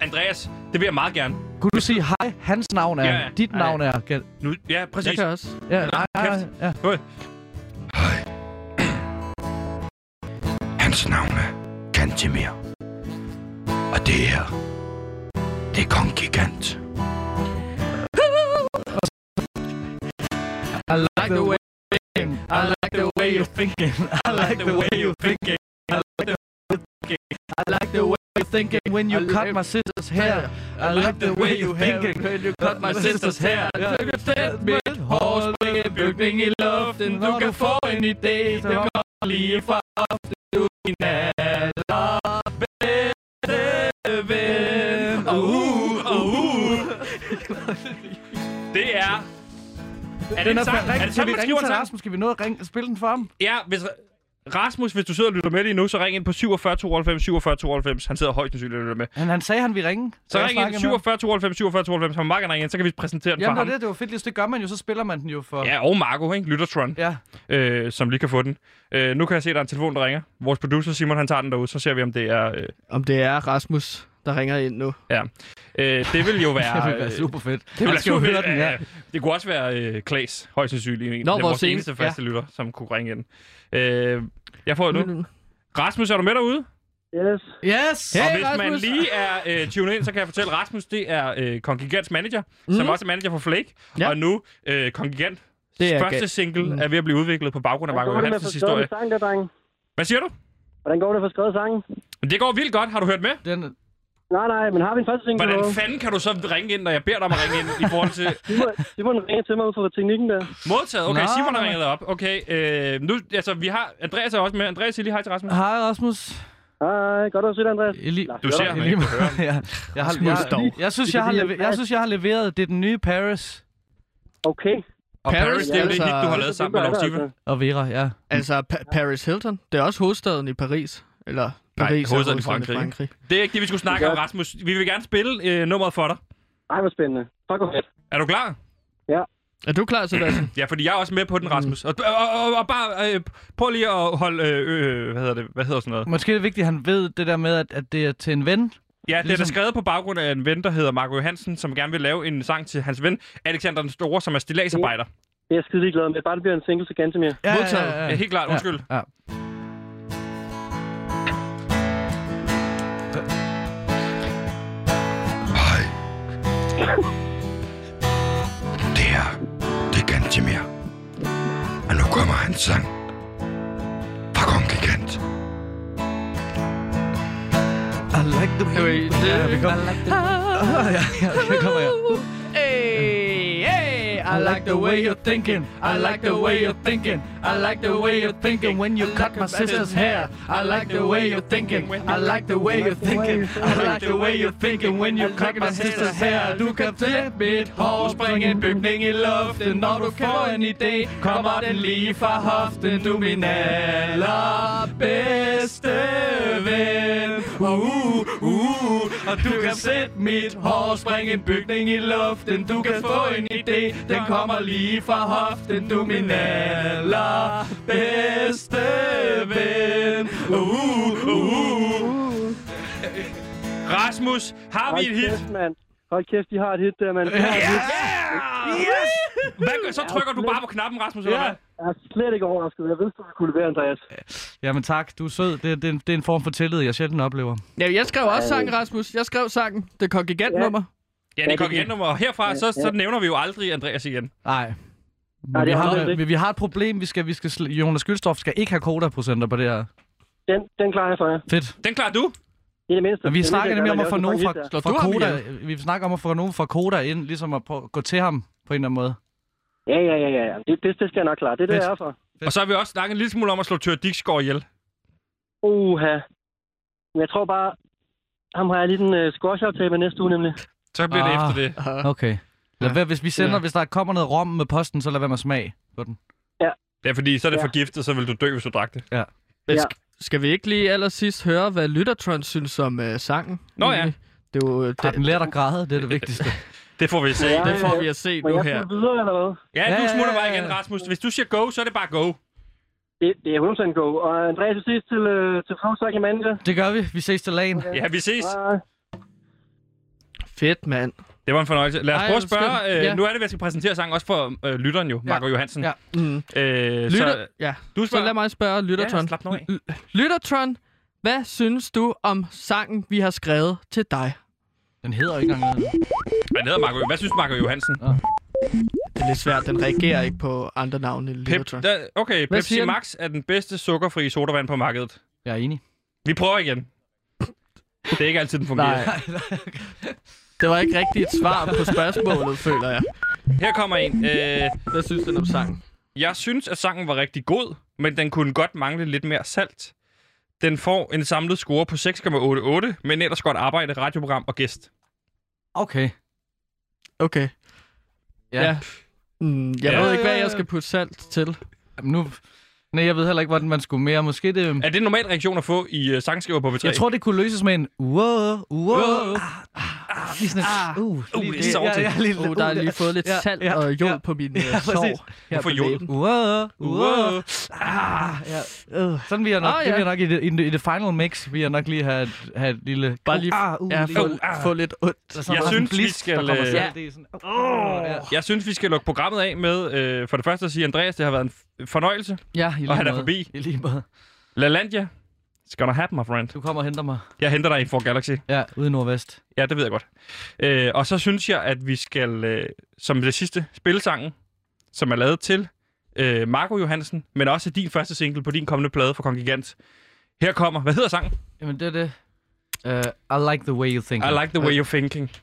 Speaker 1: Andreas, det vil jeg meget gerne.
Speaker 3: Kunne du sige, hej, hans navn er...
Speaker 1: Ja, ja.
Speaker 3: Dit
Speaker 2: Ej.
Speaker 3: navn er... Gal-
Speaker 1: Nu, ja,
Speaker 2: Jeg
Speaker 1: præcis.
Speaker 2: kan også.
Speaker 3: Ja, nej, nej,
Speaker 1: kæft.
Speaker 3: ja.
Speaker 5: Hans navn er Kantemir. Og det her, det er Kong Gigant.
Speaker 3: I like the way... I like the way you
Speaker 1: thinking.
Speaker 3: I like the way you thinking. I like the thinking. I like the way you thinking when you cut my sister's hair. I like the way you thinking when you cut my sister's hair. Du kan sætte mit hår, springe en bygning i luften. Du kan få en idé, som går lige fra aften. Du er min allerbedste ven.
Speaker 1: Uh, uh, uh. det er... Er det en sang? Er det sådan, man skriver en sang?
Speaker 3: Skal vi nå at ringe, spille den for ham?
Speaker 1: Ja, hvis... Rasmus, hvis du sidder og lytter med lige nu, så ring ind på 47 92 47 92. Han sidder højst sandsynligt og lytter med.
Speaker 3: Han, han sagde, han ville ringe.
Speaker 1: Så ring ind 47 92 47 92. Han må meget gerne ringe ind, så kan vi præsentere den for ham.
Speaker 3: det, det var fedt. Hvis det gør man jo, så spiller man den jo for...
Speaker 1: Ja, og Marco, ikke? Lyttertron,
Speaker 3: Ja.
Speaker 1: øh, som lige kan få den. Øh, nu kan jeg se, at der er en telefon, der ringer. Vores producer Simon, han tager den derude, så ser vi, om det er... Øh,
Speaker 2: Om det er Rasmus, der ringer ind nu.
Speaker 1: øh, det vil jo være...
Speaker 3: Det vil være
Speaker 1: øh,
Speaker 3: super fedt.
Speaker 1: Det
Speaker 3: Man skal jo høre den, ja.
Speaker 1: Øh, Det kunne også være øh, Klaas, højst sandsynligt. En
Speaker 2: Nå,
Speaker 1: af vores
Speaker 2: vores ene-
Speaker 1: eneste faste lytter, som kunne ringe ind. Øh, jeg får
Speaker 3: Mm.
Speaker 1: det nu.
Speaker 2: Men-
Speaker 1: Rasmus, er du med derude?
Speaker 6: Yes,
Speaker 3: Yes!
Speaker 1: og
Speaker 2: Hey,
Speaker 1: hvis man
Speaker 2: Rasmus!
Speaker 1: lige er øh, tunet ind, så kan jeg fortælle, at Rasmus det er øh, Kongigants manager, mm. som også er manager for Flake. Ja.
Speaker 2: Ja.
Speaker 1: Og nu øh, Kongigant
Speaker 2: Det er
Speaker 1: første
Speaker 2: galt. Mm.
Speaker 1: single er ved at blive udviklet på baggrund af
Speaker 6: hvordan
Speaker 1: Marco
Speaker 6: går det med at
Speaker 1: Johansens
Speaker 6: få skrevet
Speaker 1: historie.
Speaker 6: en sang der, dreng?
Speaker 1: Hvad siger du?
Speaker 6: Hvordan går det for skrevet sangen?
Speaker 1: Det går vildt godt. Har du hørt med?
Speaker 3: Den,
Speaker 6: Nej, nej, men har vi en første single?
Speaker 1: Hvordan
Speaker 6: derude?
Speaker 1: fanden kan du så ringe ind, når jeg beder dig om at ringe ind i forhold til
Speaker 6: Simon- Simon ringer til mig ud fra teknikken der.
Speaker 1: modtaget? Okay,
Speaker 3: Nå,
Speaker 1: Simon har
Speaker 3: nej.
Speaker 1: ringet dig op. Okay, øh, nu, altså, vi har... Andreas er også med. Andreas, sig lige hej til Rasmus.
Speaker 3: Hej Rasmus.
Speaker 6: Hej, godt at se dig, Andreas.
Speaker 3: Eli...
Speaker 6: Lars,
Speaker 1: Du
Speaker 6: godt
Speaker 1: ser
Speaker 6: at-
Speaker 1: ham
Speaker 3: Eli-
Speaker 1: ikke.
Speaker 3: ja. jeg, har,
Speaker 2: Rasmus
Speaker 3: jeg,
Speaker 2: dog.
Speaker 3: jeg, synes,
Speaker 6: Det
Speaker 3: jeg,
Speaker 6: kan
Speaker 3: har
Speaker 6: vi
Speaker 3: leve-
Speaker 6: hjælpe
Speaker 3: jeg
Speaker 6: dig.
Speaker 3: synes, jeg har leveret. Det er den nye Paris.
Speaker 6: Okay,
Speaker 1: Og Paris,
Speaker 2: Paris,
Speaker 1: det er jo det
Speaker 2: altså-
Speaker 1: hit, du har lavet sammen med Lars Tive.
Speaker 3: Og Vera, ja.
Speaker 2: Altså, pa- Paris Hilton, det er også hovedstaden i Paris. Eller Paris er
Speaker 1: hovedstaden i Frankrig. Det er ikke det, vi skulle snakke om, Rasmus. Vi vil gerne spille øh, nummeret for dig.
Speaker 6: Ej, hvor spændende. Fuck, hvor fedt.
Speaker 1: Er du klar?
Speaker 2: Er du klar, Sebastian?
Speaker 1: Ja, fordi jeg er også med
Speaker 2: Mm.
Speaker 1: på den, Rasmus. Og, og, og, og bare øh, prøv lige at holde... Øh, øh, hvad hedder det? Hvad hedder sådan noget?
Speaker 3: Måske er det vigtigt, at han ved det der med, at, at det er til en ven.
Speaker 1: Ja, det er da
Speaker 3: Ligesom-
Speaker 1: skrevet på baggrund af en ven, der hedder Marco Johansen, som gerne vil lave en sang til hans ven, Alexander den Store, som er stillagsarbejder.
Speaker 6: Det er jeg skide glad med. Bare det bliver en single til Gantemir.
Speaker 3: Ja,
Speaker 2: Modtaget.
Speaker 1: Ja, helt klart. Undskyld.
Speaker 3: Ja.
Speaker 5: Det her, det er Gantemir. Og nu kommer hans sang. Fra Kong Gigant.
Speaker 3: I like the way
Speaker 2: Anyway, det-
Speaker 3: Ja, vi kommer. Ah, ja, ja, vi kommer her.
Speaker 2: Hey, hey, I like the way you...
Speaker 3: thinking.
Speaker 2: I like the way you're
Speaker 3: thinking. I like the way you're thinking when you cut my sister's hair. I like the way you're thinking. I like the way you're thinking. I like the way you're thinking when you cut my sister's hair. Du kan tage mit hår, springe en bygning i luften. Når du får en idé, kommer den lige fra hoften. Du er min allerbedste ven. Uh, uh, og du kan sætte mit hår, springe en bygning i luften. Du kan få en idé, den kommer lige fra hoften. Du er min allerbedste ven. Uh, uh, uh.
Speaker 1: Rasmus, har vi
Speaker 6: Hold
Speaker 1: et hit?
Speaker 6: kæft, mand. Hold kæft, de har et hit der, mand. De har et hit.
Speaker 1: Yes! Hvad gør, så trykker du bare på knappen, Rasmus, eller hvad?
Speaker 6: Jeg er slet ikke overrasket. Jeg vidste, du ville kunne levere, Andreas.
Speaker 3: Jamen tak, du er sød. Det, det, det er en form for tillid, jeg sjældent oplever.
Speaker 2: Ja, jeg skrev også sangen, Rasmus. Jeg skrev sangen. Det kom gigantnummer.
Speaker 1: Ja, det går igen nummer. Og herfra, så, så nævner vi jo aldrig Andreas igen.
Speaker 3: Nej. Men
Speaker 6: Nej,
Speaker 3: vi,
Speaker 6: det har
Speaker 3: har,
Speaker 6: man
Speaker 3: vi,
Speaker 6: ikke.
Speaker 3: vi har et problem. Vi skal, vi skal, sl- Jonas Gyldstorff skal ikke have kodaprocenter på det her.
Speaker 6: Den, den klarer jeg for jer.
Speaker 3: Fedt.
Speaker 1: Den klarer du.
Speaker 6: Det er det mindste.
Speaker 3: Men vi
Speaker 6: Det er
Speaker 3: snakker
Speaker 6: det,
Speaker 3: nemlig
Speaker 6: jeg
Speaker 3: om at
Speaker 6: gør,
Speaker 3: få
Speaker 6: når
Speaker 3: nogen
Speaker 6: jeg laver sådan en
Speaker 2: Slår
Speaker 3: fra, fra
Speaker 2: du ham
Speaker 3: Koda. Vi snakker om at få nogen fra Koda ind, ligesom at prøve, gå til ham på en eller anden måde.
Speaker 6: hit der. Ja, ja, ja. ja. ja. Det, det, det skal jeg nok klare. Det er det,
Speaker 3: Fedt.
Speaker 6: jeg er for.
Speaker 1: Og så har vi også snakket en lille smule om at slå Tør Dixgaard ihjel.
Speaker 6: Uha. Men jeg tror bare, ham har jeg lige en uh, squash-aftale med næste uge, nemlig.
Speaker 1: Så bliver det
Speaker 3: Ah.
Speaker 1: efter det.
Speaker 3: Okay. Lad være, hvis vi sender,
Speaker 2: Ja.
Speaker 3: hvis der kommer noget rom med posten, så lad være med smag på den.
Speaker 1: Ja, fordi så er det
Speaker 6: Ja.
Speaker 1: forgiftet, så vil du dø, hvis du drak det.
Speaker 2: Men
Speaker 6: Ja.
Speaker 2: sk- Skal vi ikke lige allersidst høre, hvad Lyttertron synes om uh, sangen?
Speaker 1: Nå ja.
Speaker 2: egentlig? Det, er jo, øh,
Speaker 3: Har
Speaker 2: det,
Speaker 3: den lært at græde? Det er det vigtigste.
Speaker 1: Det får vi se.
Speaker 6: Ja.
Speaker 2: det får vi at se
Speaker 6: Må
Speaker 2: nu
Speaker 6: jeg
Speaker 2: her.
Speaker 6: skulle videre, eller hvad?
Speaker 1: Ja,
Speaker 3: Ja,
Speaker 1: du smutter
Speaker 3: ja,
Speaker 1: bare
Speaker 3: ja.
Speaker 1: igen, Rasmus. Hvis du siger go, så er det bare go.
Speaker 6: Det, det er 100% go. Og Andreas, til sidst til, uh, til Frostak i mandag.
Speaker 3: Det gør vi. Vi ses til lagen.
Speaker 1: Ja, vi ses.
Speaker 6: Hej.
Speaker 2: Fedt, mand.
Speaker 1: Det var en fornøjelse. Lad os
Speaker 2: Ej,
Speaker 1: prøve at
Speaker 2: hvor
Speaker 1: spørge.
Speaker 2: skønt.
Speaker 1: Øh,
Speaker 2: Ja.
Speaker 1: Nu er det, vi skal præsentere sangen også for øh, lytteren jo, Marco Johansen.
Speaker 3: Ja.
Speaker 2: Mm.
Speaker 1: Øh,
Speaker 2: Lytter,
Speaker 1: så,
Speaker 2: ja.
Speaker 1: du
Speaker 2: Så
Speaker 1: spørger.
Speaker 2: lad mig spørge Lyttertron.
Speaker 1: Ja, slap nu af.
Speaker 2: L- Lyttertron, hvad synes du om sangen, vi har skrevet til dig?
Speaker 3: Den hedder ikke engang noget.
Speaker 1: Han hedder Marco. Hvad synes Marco Johansen?
Speaker 2: Det er lidt svært, den reagerer ikke på andre navne end
Speaker 1: Pep,
Speaker 2: Lyttertron.
Speaker 1: da, okay,
Speaker 2: Hvad
Speaker 1: Pepsi
Speaker 2: siger den?
Speaker 1: Max er den bedste sukkerfri sodavand på markedet.
Speaker 3: Jeg er enig.
Speaker 1: Vi prøver igen. Det er ikke altid, den fungerer.
Speaker 2: Nej. Det var ikke rigtigt et svar på spørgsmålet, føler jeg.
Speaker 1: Her kommer en. Øh,
Speaker 2: Hvad synes den om sangen?
Speaker 1: jeg synes, at sangen var rigtig god, men den kunne godt mangle lidt mere salt. Den får en samlet score på 6,88, men ellers godt arbejde, radioprogram og gæst.
Speaker 3: Okay.
Speaker 2: Okay.
Speaker 3: Ja.
Speaker 2: Mm, jeg
Speaker 1: Ja.
Speaker 2: ved ikke, hvad
Speaker 3: Ja, ja,
Speaker 2: jeg
Speaker 3: ja.
Speaker 2: skal putte salt til.
Speaker 3: Jamen, nu... Nej, jeg ved heller ikke, hvordan man skulle mere. Måske det...
Speaker 1: Er det en normal reaktion at få i uh, sangskriver på V3?
Speaker 3: Jeg tror, det kunne løses med en... Wow, wow, ah, ah, lige sådan en... Uh,
Speaker 1: det er salty.
Speaker 3: ja, lige,
Speaker 2: Uh, der har
Speaker 3: det-
Speaker 2: lige fået lidt
Speaker 3: ja,
Speaker 2: salt
Speaker 3: ja,
Speaker 2: og jod
Speaker 3: ja.
Speaker 2: på min
Speaker 3: Ja,
Speaker 2: ja,
Speaker 3: præcis.
Speaker 2: sår. her
Speaker 1: Hvorfor
Speaker 2: på
Speaker 1: jod?
Speaker 2: læben.
Speaker 3: Wow, wow.
Speaker 1: Wow.
Speaker 3: Ah, ja. øh. Sådan vil jeg nok,
Speaker 2: Ah,
Speaker 3: ah,
Speaker 2: ja.
Speaker 3: ja. det vil jeg nok i det, i, det, i det final mix, vil jeg nok lige have et, have et lille...
Speaker 2: Bare lige-
Speaker 3: Ah, uh,
Speaker 2: Ja,
Speaker 3: lige-
Speaker 2: få,
Speaker 1: Uh, ah.
Speaker 2: få lidt ondt.
Speaker 3: Der er sådan
Speaker 1: Jeg
Speaker 3: meget
Speaker 1: synes,
Speaker 3: sådan
Speaker 1: vi
Speaker 3: blisk,
Speaker 1: skal,
Speaker 3: der kommer
Speaker 1: øh,
Speaker 3: selv.
Speaker 2: Ja.
Speaker 3: Det er sådan, åh, ja.
Speaker 1: Jeg synes, vi skal lukke programmet af med øh, for det første at sige, Andreas, det har været en f- fornøjelse.
Speaker 3: ja, i lige
Speaker 1: han er
Speaker 3: måde.
Speaker 1: forbi.
Speaker 3: I lige måde.
Speaker 1: LaLandia, it's gonna happen, my friend.
Speaker 3: Du kommer og henter mig.
Speaker 1: Jeg henter dig i for Galaxy.
Speaker 3: Ja, ude i Nordvest.
Speaker 1: Ja, det ved jeg godt. Øh, og så synes jeg, at vi skal, øh, som det sidste, spille sangen, som er lavet til øh, Marco Johansen, men også din første single på din kommende plade for Kongigant. Her kommer, hvad hedder sangen?
Speaker 3: Jamen, det er det. Uh, I like the way you think.
Speaker 1: I like the way you're thinking.
Speaker 3: altså.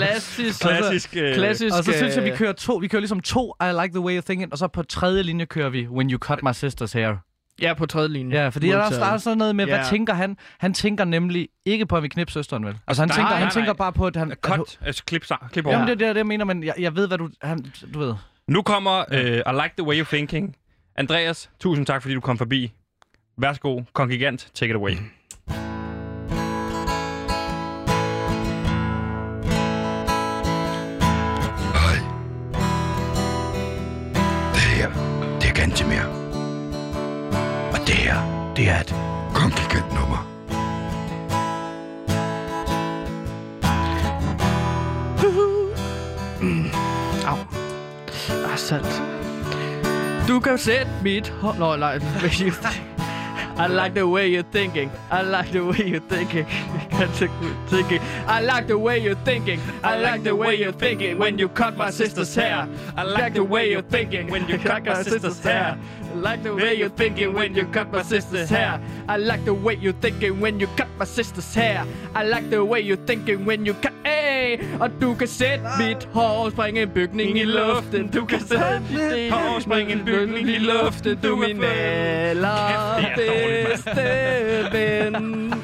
Speaker 2: Klassisk.
Speaker 1: Klassisk. Øh,
Speaker 2: Klassisk.
Speaker 3: Og så synes jeg, vi
Speaker 2: øh,
Speaker 3: kører to. Vi kører ligesom to I like the way you thinking, og så på tredje linje kører vi When you cut my sister's hair.
Speaker 2: Ja, på øh, tredje linje.
Speaker 3: Ja, fordi der er, der er sådan noget med, hvad
Speaker 2: Ja.
Speaker 3: tænker han? Han tænker nemlig ikke på, at vi knipper søsteren, vel? Altså, han,
Speaker 1: Nej,
Speaker 3: tænker,
Speaker 1: nej,
Speaker 3: han
Speaker 1: nej.
Speaker 3: tænker bare på, at han... at hun-
Speaker 1: Cut. Altså, klip, sa- klip over.
Speaker 3: Jamen, det er det, jeg- det, jeg mener, men jeg, jeg ved, hvad du... Han, du ved.
Speaker 1: Nu kommer øh, I Like The Way You're Thinking. Andreas, tusind tak, fordi du kom forbi. Værsgo, kongigant, take it away.
Speaker 5: Det her, det er Gantemir. Og det her, det er et komplikant nummer.
Speaker 2: Ah, sandt. Du kan sætte mit hår... Nå, nej. I like the way you're thinking. I like the way you're thinking. I can't take my thinking. I like the way you're thinking. I like the way you're thinking when you cut my sister's hair. I like the way you're thinking when you cut my sister's hair. I like the way you're thinking when you cut my sister's hair. I like the way you're thinking when you cut my sister's hair. I like the way you're thinking when you cut... Hey! Og du kan sætte mit hår og springe en bygning i luften. Du kan sætte mit hår og springe en bygning i luften. Du er min allerbedste ven.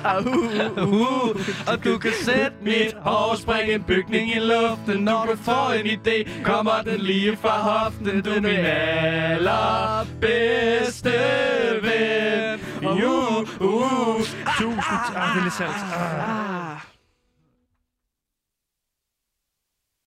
Speaker 2: Au, uh,
Speaker 3: Og du kan sætte
Speaker 2: mit hår springe en bygning i luften Når du får en idé, kommer den lige fra hoften Du er min allerbedste ven
Speaker 1: Uh, uh, tusind tak, lille salt. Ah.